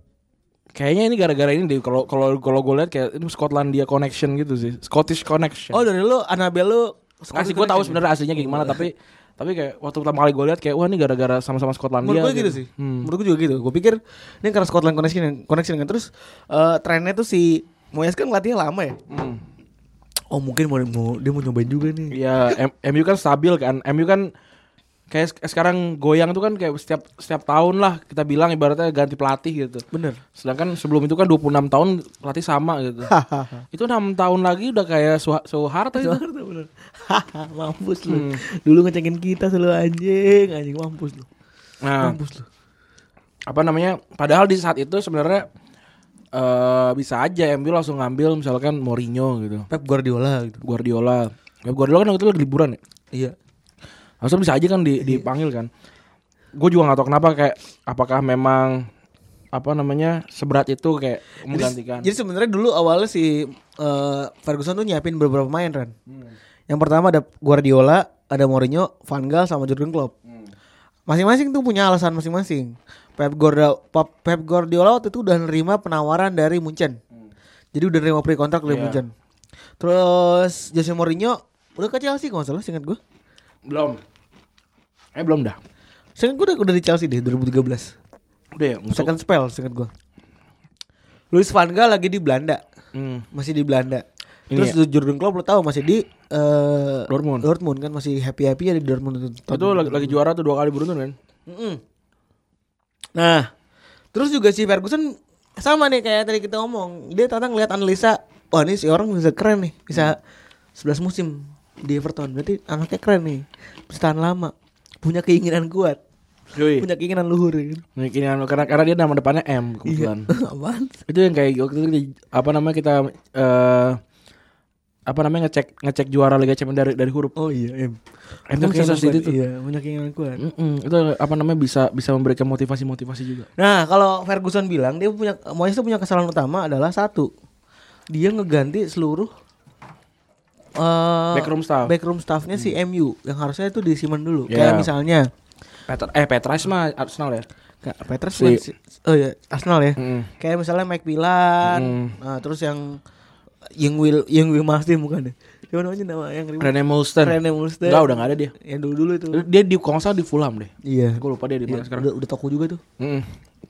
Speaker 3: kayaknya ini gara-gara ini deh. Kalau kalau kalau gue lihat kayak itu Skotlandia connection gitu sih. Scottish connection.
Speaker 2: Oh, dari lu Anabel lu
Speaker 3: Asli gue tahu sebenarnya aslinya kayak gimana tapi tapi kayak waktu pertama kali gue lihat kayak wah ini gara-gara sama-sama Skotlandia. Hmm.
Speaker 2: Menurut gue gitu, sih. Menurut gue juga gitu. Gue pikir ini karena Scotland connection yang connection kan terus eh, trennya tuh si Moyes kan latihnya lama ya.
Speaker 3: Hmm.
Speaker 2: Oh mungkin mau, mau dia mau nyobain juga nih.
Speaker 3: Iya, M- MU kan stabil kan. MU kan kayak sek- sekarang goyang tuh kan kayak setiap setiap tahun lah kita bilang ibaratnya ganti pelatih gitu.
Speaker 2: Bener.
Speaker 3: Sedangkan sebelum itu kan 26 tahun pelatih sama gitu.
Speaker 2: Hahaha.
Speaker 3: itu enam tahun lagi udah kayak Suha- Soeharto itu.
Speaker 2: Bener, bener. Hahaha, mampus lu. Dulu ngecengin kita selalu anjing, anjing mampus lu.
Speaker 3: Nah,
Speaker 2: Mampus lu.
Speaker 3: apa namanya? Padahal di saat itu sebenarnya eh bisa aja MU langsung ngambil misalkan Mourinho gitu.
Speaker 2: Pep Guardiola gitu.
Speaker 3: Guardiola. Pep Guardiola kan waktu itu lagi liburan ya.
Speaker 2: Iya.
Speaker 3: Langsung bisa aja kan di- dipanggil kan. Gue juga nggak tahu kenapa kayak apakah memang apa namanya seberat itu kayak menggantikan.
Speaker 2: Jadi sebenarnya dulu awalnya si eh, Ferguson tuh nyiapin beberapa pemain Ran. Yang pertama ada Guardiola, ada Mourinho, Van Gaal sama Jurgen Klopp. Masing-masing tuh punya alasan masing-masing. Pep Guardiola, Pep Guardiola waktu itu udah nerima penawaran dari Munchen. Jadi udah nerima pre kontrak dari Munchen. Terus Jose Mourinho udah ke Chelsea kalau nggak salah, singkat gue.
Speaker 3: Belum. Eh belum dah.
Speaker 2: Seingat gue udah, udah di Chelsea deh 2013.
Speaker 3: Udah ya. untuk-
Speaker 2: Second spell seingat gue. Luis Van Gaal lagi di Belanda.
Speaker 3: Hmm.
Speaker 2: masih di Belanda.
Speaker 3: Ini
Speaker 2: Terus Jurgen Klopp lo tahu masih di eh,
Speaker 3: Iya. Dortmund.
Speaker 2: Dortmund kan masih happy happy ya di Dortmund.
Speaker 3: Itu lagi, lagi juara tuh dua kali beruntun kan.
Speaker 2: Mm-mm. Nah, terus juga si Ferguson sama nih kayak tadi kita ngomong, dia ternyata ngeliat analisa, wah ini si orang bisa keren nih, bisa 11 musim di Everton. Berarti anaknya keren nih, bisa tahan lama, punya keinginan kuat,
Speaker 3: Yoi.
Speaker 2: punya keinginan luhur. ya kan.
Speaker 3: Mungkin yang- karena karena dia nama depannya M kebetulan.
Speaker 2: Apaan?
Speaker 3: itu yang kayak waktu itu di- apa namanya kita eh apa namanya ngecek ngecek juara Liga Champions dari dari huruf.
Speaker 2: Oh iya, em.
Speaker 3: M tuh Hmm. kayak seperti itu.
Speaker 2: Iya, punya keinginan kuat.
Speaker 3: Mm-mm, itu apa namanya bisa bisa memberikan motivasi-motivasi juga.
Speaker 2: Nah, kalau Ferguson bilang dia punya Moyes tuh punya kesalahan utama adalah satu. Dia ngeganti seluruh eh,
Speaker 3: Backroom staff. Hmm. Ya.
Speaker 2: Backroom staffnya si MU yang harusnya itu disimpan dulu. Kayak
Speaker 3: Yeah.
Speaker 2: misalnya
Speaker 3: Peter eh Petras mah Arsenal ya.
Speaker 2: Kak Petrus
Speaker 3: Si-
Speaker 2: kan si- oh ya Arsenal ya.
Speaker 3: Mm.
Speaker 2: Kayak misalnya Mike Pilar,
Speaker 3: Mm.
Speaker 2: nah, terus yang yang Will yang Will Mastin bukan deh. Siapa namanya nama yang ribut?
Speaker 3: Rene Mulster.
Speaker 2: Rene Mulster.
Speaker 3: Enggak, udah enggak ada dia.
Speaker 2: Yang dulu-dulu itu.
Speaker 3: Dia di kalau nggak salah di Fulham deh.
Speaker 2: Iya.
Speaker 3: Gue lupa dia di mana
Speaker 2: Iya,
Speaker 3: sekarang.
Speaker 2: Udah, udah toko juga tuh.
Speaker 3: Mm-mm.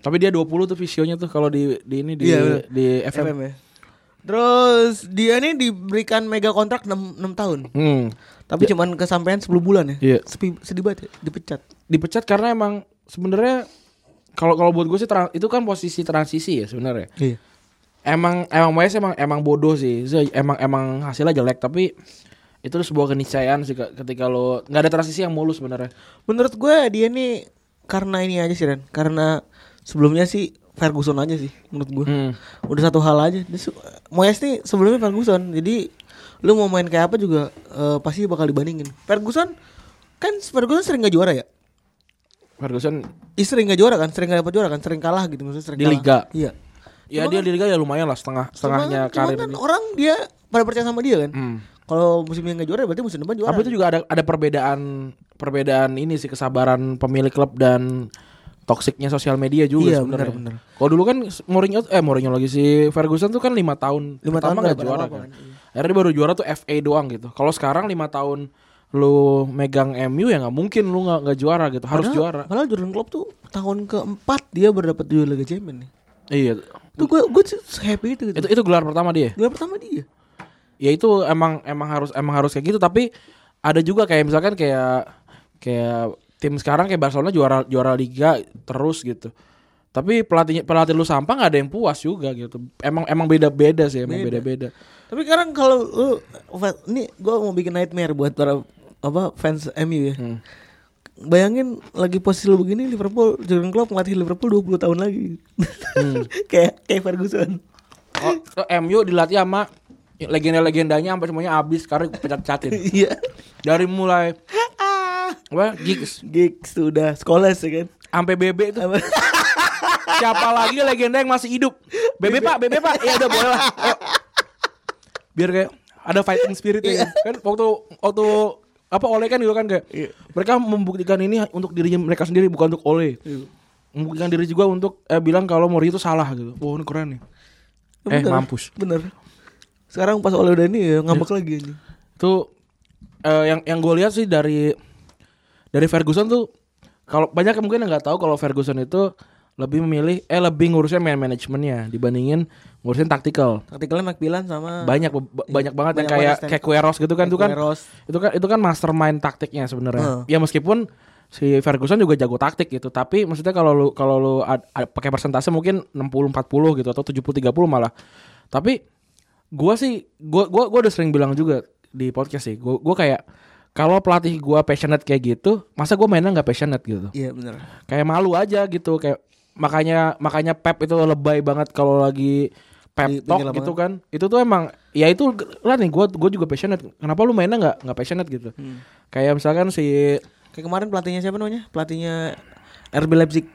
Speaker 3: Tapi dia 20 tuh visionya tuh kalau di di ini di
Speaker 2: Iya, bener.
Speaker 3: di FM.
Speaker 2: FM ya. Terus dia nih diberikan mega kontrak 6, 6 tahun.
Speaker 3: Hmm.
Speaker 2: Tapi cuman kesampaian 10 bulan ya.
Speaker 3: Iya.
Speaker 2: Sepi, sedih banget ya, dipecat.
Speaker 3: Dipecat karena emang sebenarnya kalau kalau buat gue sih tran- itu kan posisi transisi ya sebenarnya.
Speaker 2: Iya.
Speaker 3: Emang emang Moyes emang emang bodoh sih. So, Emang emang hasilnya jelek tapi itu sebuah keniscayaan sih Kak, ketika lo nggak ada transisi yang mulus sebenarnya.
Speaker 2: Menurut gue dia nih karena ini aja sih Ren, karena sebelumnya sih Ferguson aja sih menurut gue.
Speaker 3: Hmm.
Speaker 2: Udah satu hal aja. Dia su- Moyes nih sebelumnya Ferguson. Jadi lu mau main kayak apa juga eh, pasti bakal dibandingin. Ferguson Kan Ferguson sering gak juara ya?
Speaker 3: Ferguson
Speaker 2: Ih, sering gak juara kan? Sering gak dapat juara kan? Sering kalah gitu maksudnya sering
Speaker 3: Di
Speaker 2: kalah.
Speaker 3: Liga.
Speaker 2: Iya.
Speaker 3: ya
Speaker 2: Cuma
Speaker 3: dia
Speaker 2: kan-
Speaker 3: di liga ya lumayan lah setengah setengahnya
Speaker 2: Cuma- cuma
Speaker 3: karir
Speaker 2: kan
Speaker 3: dia.
Speaker 2: orang dia pada percaya sama dia kan.
Speaker 3: Hmm.
Speaker 2: Kalau musim ini gak juara berarti musim depan juara.
Speaker 3: Tapi itu juga ada ada perbedaan perbedaan ini sih kesabaran pemilik klub dan toksiknya sosial media juga
Speaker 2: Iya,
Speaker 3: sebenarnya.
Speaker 2: benar, benar.
Speaker 3: Kalau dulu kan Mourinho eh Mourinho lagi si Ferguson tuh kan lima tahun.
Speaker 2: Lima
Speaker 3: Pertama
Speaker 2: tahun
Speaker 3: nggak
Speaker 2: nggak
Speaker 3: juara
Speaker 2: apa-apa iya.
Speaker 3: kan. Akhirnya dia baru juara tuh FA doang gitu. Kalau sekarang lima tahun lu megang MU ya nggak mungkin lu nggak nggak juara gitu.
Speaker 2: Padahal-
Speaker 3: Harus juara.
Speaker 2: Padahal Jurgen Klopp tuh tahun keempat dia berdapat juara Liga Champions nih.
Speaker 3: Iya.
Speaker 2: Tuh gue gue tuh happy itu gitu.
Speaker 3: Itu itu gelar pertama dia.
Speaker 2: Gelar pertama dia.
Speaker 3: ya itu emang emang harus emang harus kayak gitu tapi ada juga kayak misalkan kayak kayak tim sekarang kayak Barcelona juara juara liga terus gitu tapi pelatihnya pelatih lu sampah nggak ada yang puas juga gitu emang emang beda beda sih emang beda beda
Speaker 2: Tapi sekarang kalau lu ini gue mau bikin nightmare buat para apa fans MU ya.
Speaker 3: Hmm.
Speaker 2: Bayangin lagi posisi lu begini Liverpool Jurgen Klopp ngelatih Liverpool 20 tahun lagi.
Speaker 3: Hmm.
Speaker 2: kayak kayak Ferguson.
Speaker 3: oh, so MU dilatih sama legenda legendanya sampai semuanya habis karena pecat pecatin
Speaker 2: Iya.
Speaker 3: dari mulai apa gigs
Speaker 2: Gigs tuh udah Scholes ya kan.
Speaker 3: sampai BB itu siapa lagi legenda yang masih hidup BB pak BB pak ya udah boleh lah Ayo. biar kayak ada fighting spirit kan waktu waktu apa Ole kan juga kan kayak mereka membuktikan ini untuk dirinya mereka sendiri bukan untuk Ole membuktikan diri juga untuk eh, bilang kalau Mori itu salah gitu wah ini keren nih eh
Speaker 2: Bener,
Speaker 3: mampus
Speaker 2: Bener. Sekarang pas oleh udah ini ya ngambek lagi ini.
Speaker 3: tuh eh, yang yang gue lihat sih dari dari Ferguson tuh kalau banyak yang mungkin yang nggak tahu kalau Ferguson itu lebih memilih eh lebih ngurusin man manajemennya dibandingin ngurusin taktikal
Speaker 2: Taktikalnya McBillan sama
Speaker 3: banyak be- be- banyak banget yang
Speaker 2: Banyak
Speaker 3: kayak
Speaker 2: banget, Stan.
Speaker 3: kayak Queiroz gitu kan itu kan
Speaker 2: Queiroz.
Speaker 3: itu kan itu kan mastermind taktiknya sebenarnya
Speaker 2: Heeh.
Speaker 3: ya meskipun si Ferguson juga jago taktik gitu tapi maksudnya kalau lu kalau lu ad- ad- pakai persentase mungkin 60 40 gitu atau 70 30 malah tapi gua sih gua gua gua udah sering bilang juga di podcast sih gua gua kayak kalau pelatih gua passionate kayak gitu masa gua mainnya nggak passionate gitu
Speaker 2: Iya bener.
Speaker 3: kayak malu aja gitu kayak makanya makanya Pep itu lebay banget kalau lagi
Speaker 2: Di
Speaker 3: Pep
Speaker 2: pinggir
Speaker 3: talk
Speaker 2: lapangan.
Speaker 3: gitu kan itu tuh emang ya itu lah nih gue gue juga passionate kenapa lu mainnya nggak nggak passionate gitu kayak misalkan si
Speaker 2: Kayak kemarin pelatihnya siapa namanya? Pelatihnya RB Leipzig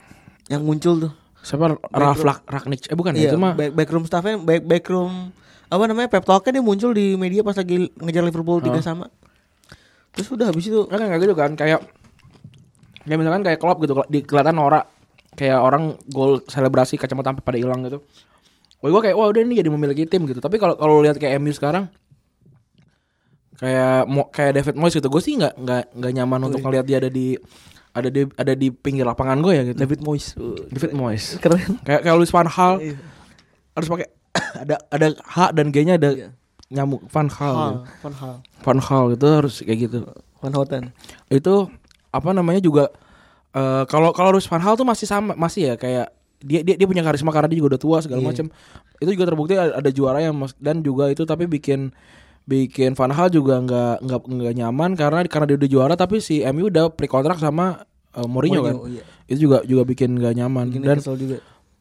Speaker 2: yang muncul tuh.
Speaker 3: siapa Ralf Lak- Ragnick eh bukan ya
Speaker 2: Iya,
Speaker 3: itu mah
Speaker 2: back, backroom staffnya, back, backroom apa namanya pep talknya dia muncul di media pas lagi ngejar Liverpool tiga sama. Terus udah habis itu
Speaker 3: kan kayak gitu kan kayak kayak misalkan kayak klub gitu di kelihatan norak kayak orang gol selebrasi kacamata sampai pada hilang gitu Wah gue kayak wah udah ini jadi memiliki tim gitu tapi kalau kalau lihat kayak MU sekarang kayak mo, kayak David Moyes gitu gue sih nggak nggak nggak nyaman untuk ngelihat dia ada di ada di ada di pinggir lapangan gue ya gitu
Speaker 2: David Iya. Moyes.
Speaker 3: David Moyes Iya.
Speaker 2: Keren.
Speaker 3: kayak kayak Luis Van Hal harus pakai ada ada H dan G-nya ada
Speaker 2: Iya.
Speaker 3: nyamuk Van Hal gitu.
Speaker 2: Hal, Van Hal,
Speaker 3: Van Hal gitu harus kayak gitu
Speaker 2: Van Houten.
Speaker 3: itu apa namanya juga eh, kalau kalau Russ Van Hal tuh masih sama masih ya kayak dia dia, dia punya karisma karena dia juga udah tua
Speaker 2: Iya.
Speaker 3: segala macam itu juga terbukti ada, ada juara yang mas- dan juga itu tapi bikin bikin Van Hal juga nggak nggak nggak nyaman karena karena dia udah juara tapi si MU udah pre kontrak sama eh, Mourinho, kan
Speaker 2: Mourinho, iya.
Speaker 3: itu juga juga bikin nggak nyaman
Speaker 2: Bikin
Speaker 3: dan
Speaker 2: kesel juga.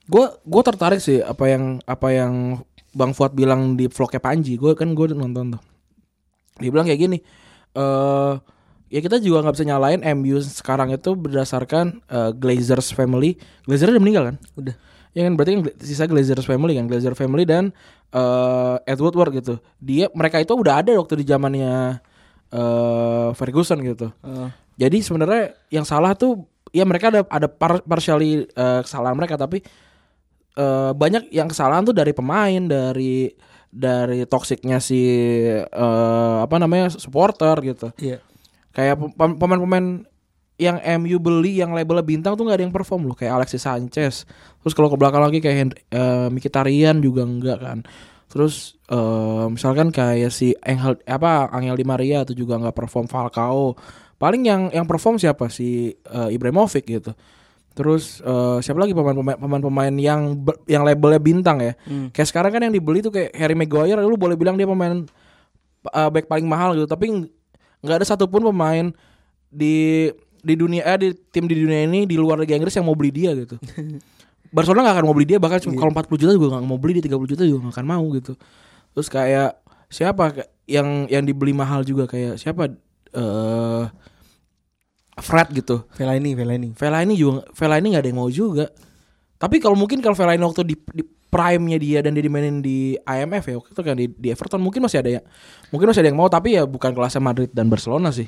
Speaker 3: gue gue tertarik sih apa yang apa yang bang Fuad bilang di vlognya Panji gue kan gue nonton tuh dia bilang kayak gini eh ya kita juga nggak bisa nyalain MU sekarang itu berdasarkan eh, Glazers family Glazer udah meninggal kan
Speaker 2: Udah.
Speaker 3: ya kan berarti kan Gla- sisa Glazers family kan Glazer family dan eh Ed Woodward gitu dia mereka itu udah ada waktu di zamannya eh Ferguson gitu
Speaker 2: Heeh.
Speaker 3: jadi sebenarnya yang salah tuh ya mereka ada ada par- partially eh, kesalahan mereka tapi eh, banyak yang kesalahan tuh dari pemain dari dari toksiknya si eh, apa namanya supporter gitu
Speaker 2: Iya.
Speaker 3: kayak pem- pem- pemain-pemain yang MU beli yang labelnya bintang tuh nggak ada yang perform loh kayak Alexis Sanchez terus kalau ke belakang lagi kayak Hen- eh, Mkhitaryan juga enggak kan terus eh, misalkan kayak si Angel apa Angel Di Maria itu juga nggak perform Falcao paling yang yang perform siapa si eh, Ibrahimovic gitu terus eh, siapa lagi pemain-pemain pemain-pemain yang ber- yang labelnya bintang ya kayak sekarang kan yang dibeli tuh kayak Harry Maguire lu boleh bilang dia pemain eh, back paling mahal gitu tapi ng- nggak ada satupun pemain di di dunia eh, di tim di dunia ini di luar Liga Inggris yang mau beli dia gitu Barcelona nggak akan mau beli dia bahkan cuma kalau 40 juta juga nggak mau beli dia 30 juta juga nggak akan mau gitu terus kayak siapa kayak yang yang dibeli mahal juga kayak siapa eh Fred gitu.
Speaker 2: Vela ini, Vela ini.
Speaker 3: Fellaini juga Fellaini nggak ada yang mau juga. Tapi kalau mungkin kalau Fellaini waktu di, di prime-nya dia dan dia dimainin di IMF ya waktu itu kan di, di Everton mungkin masih ada ya. Mungkin masih ada yang mau tapi ya bukan kelasnya Madrid dan Barcelona sih.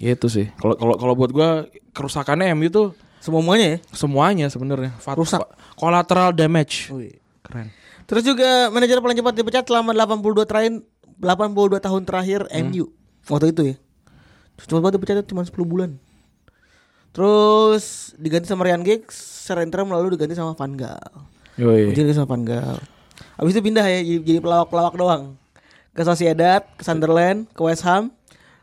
Speaker 3: Gitu sih. Kalau kalau kalau buat gua kerusakannya MU tuh
Speaker 2: Semuanya ya.
Speaker 3: semuanya sebenarnya Fat-
Speaker 2: Rusak.
Speaker 3: fa- collateral damage. Keren.
Speaker 2: Terus juga manajer paling cepat dipecat selama 82 terakhir 82 tahun terakhir MU. Waktu itu ya. Cuma banget dipecat cuma 10 bulan. Terus diganti sama Ryan Giggs, secara interim lalu diganti sama Van Gaal. Ujung
Speaker 3: Yoi.
Speaker 2: diganti sama Van Gaal. Abis itu pindah ya jadi, jadi pelawak-pelawak doang. Ke Sociedad, ke Sunderland, ke West Ham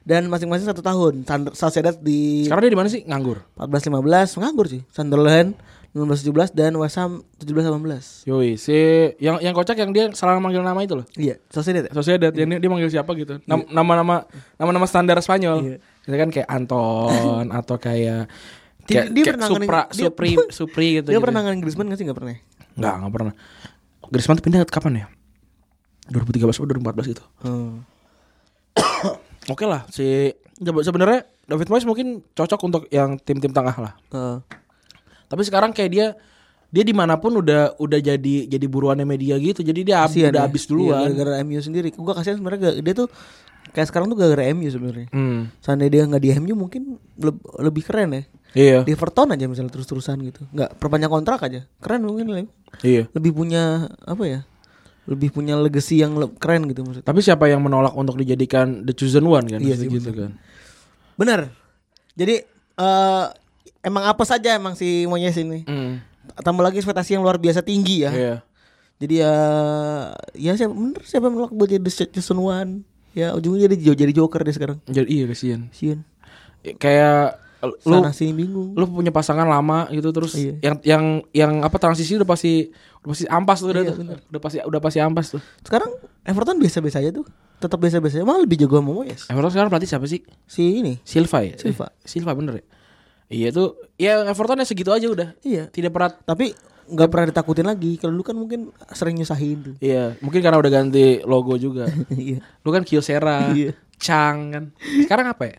Speaker 2: dan masing-masing satu tahun. Sunder- Sociedad di
Speaker 3: Sekarang dia di mana sih? Nganggur.
Speaker 2: 14-15 nganggur sih. Sunderland 16-17 dan West Ham 17-18.
Speaker 3: Yoi, si yang yang kocak yang dia salah manggil nama itu loh.
Speaker 2: Iya, Sociedad. ya?
Speaker 3: Sociedad yang dia, dia manggil siapa gitu. Nam- Nama-nama nama-nama standar Spanyol.
Speaker 2: Iya.
Speaker 3: Gitu kan kayak Anton atau kayak
Speaker 2: Dia-
Speaker 3: kayak,
Speaker 2: dia
Speaker 3: kayak
Speaker 2: pernah
Speaker 3: Supra,
Speaker 2: nge- dia-
Speaker 3: Supri, Supri gitu.
Speaker 2: dia
Speaker 3: gitu.
Speaker 2: pernah ngangen Griezmann gak sih? Gak pernah ya?
Speaker 3: Enggak, enggak pernah. Griezmann tuh pindah kapan ya? 2013 atau 2014 gitu.
Speaker 2: Hmm.
Speaker 3: Oke lah, si ya, sebenarnya David Moyes mungkin cocok untuk yang tim-tim tengah lah.
Speaker 2: Heeh.
Speaker 3: Tapi sekarang kayak dia dia dimanapun udah udah jadi jadi buruannya media gitu. Jadi dia ab-
Speaker 2: Kasihan
Speaker 3: udah
Speaker 2: ya.
Speaker 3: habis
Speaker 2: Iya,
Speaker 3: duluan.
Speaker 2: gara-gara MU sendiri Gue kasihan sebenarnya gak- dia tuh Kayak sekarang tuh gara-gara MU sebenarnya
Speaker 3: Hmm.
Speaker 2: Seandainya dia gak di MU mungkin leb- lebih keren ya
Speaker 3: Iya.
Speaker 2: Di Everton aja misalnya terus-terusan gitu Gak perpanjang kontrak aja Keren mungkin Leng.
Speaker 3: Iya.
Speaker 2: Lebih punya apa ya Lebih punya legacy yang le- keren gitu maksudnya
Speaker 3: Tapi siapa yang menolak untuk dijadikan the chosen one kan?
Speaker 2: Iya sih,
Speaker 3: Gitu- gitu kan.
Speaker 2: Bener Jadi eh, Emang apa saja emang si Moyes ini
Speaker 3: Hmm.
Speaker 2: Tambah lagi ekspektasi yang luar biasa tinggi ya
Speaker 3: Iya.
Speaker 2: Jadi ya ya siapa bener siapa yang menolak buat jadi Jason One. Ya ujungnya jadi jo- jadi Joker deh sekarang.
Speaker 3: Jadi iya kasihan.
Speaker 2: Sian.
Speaker 3: Kayak lu
Speaker 2: Sana sini bingung.
Speaker 3: lu punya pasangan lama gitu terus
Speaker 2: Iya.
Speaker 3: yang yang yang apa transisi udah pasti udah pasti ampas tuh udah,
Speaker 2: Iya,
Speaker 3: tuh.
Speaker 2: bener.
Speaker 3: udah pasti udah pasti ampas tuh.
Speaker 2: Sekarang Everton biasa-biasa aja tuh. Tetap biasa-biasa. aja. Malah lebih jago sama Moyes.
Speaker 3: Everton sekarang pelatih siapa sih?
Speaker 2: Si ini.
Speaker 3: Silva ya.
Speaker 2: Silva.
Speaker 3: Eh, Silva bener ya. Iya tuh. Ya Evertonnya segitu aja udah.
Speaker 2: Iya.
Speaker 3: Tidak pernah
Speaker 2: Tapi nggak pernah ditakutin lagi. Kalau dulu kan mungkin sering nyusahin tuh.
Speaker 3: Iya, mungkin karena udah ganti logo juga.
Speaker 2: Iya.
Speaker 3: Lu kan Kyocera,
Speaker 2: Iya.
Speaker 3: Chang kan. Sekarang apa ya?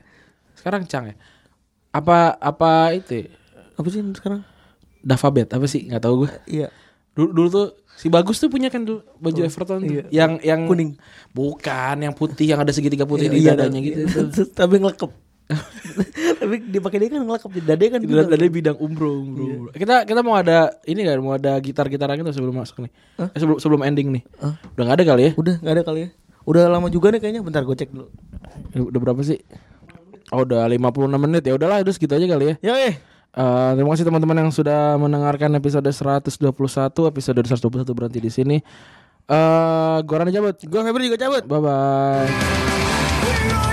Speaker 3: Sekarang Chang ya. Apa apa itu? ya?
Speaker 2: Apa sih sekarang?
Speaker 3: Davabet apa sih? Nggak tahu gue.
Speaker 2: Iya.
Speaker 3: Dulu, dulu tuh si bagus tuh punya kan dulu baju Everton tuh.
Speaker 2: iya.
Speaker 3: yang yang
Speaker 2: Kuning.
Speaker 3: bukan yang putih yang ada segitiga putih di
Speaker 2: Iya,
Speaker 3: dadanya
Speaker 2: iya.
Speaker 3: gitu itu
Speaker 2: Terus Tapi ngelekep. Tapi dipakai dia kan ngelekep. Dada kan
Speaker 3: di
Speaker 2: bidang.
Speaker 3: dalam dada bidang umroh umroh umroh. Iya. kita kita mau ada ini kan mau ada gitar gitaran gitu sebelum masuk nih Eh, sebelum sebelum ending nih
Speaker 2: Hah?
Speaker 3: udah nggak ada kali ya
Speaker 2: Udah nggak ada kali ya. Udah lama juga nih kayaknya. Bentar gue cek dulu.
Speaker 3: udah berapa sih oh udah 56 menit ya udahlah udah segitu aja kali ya
Speaker 2: Yo eh.
Speaker 3: Eh, terima kasih teman-teman yang sudah mendengarkan episode 121 episode 121 berhenti di sini eh gua Rani cabut
Speaker 2: Gue Febri juga cabut.
Speaker 3: bye bye
Speaker 6: We are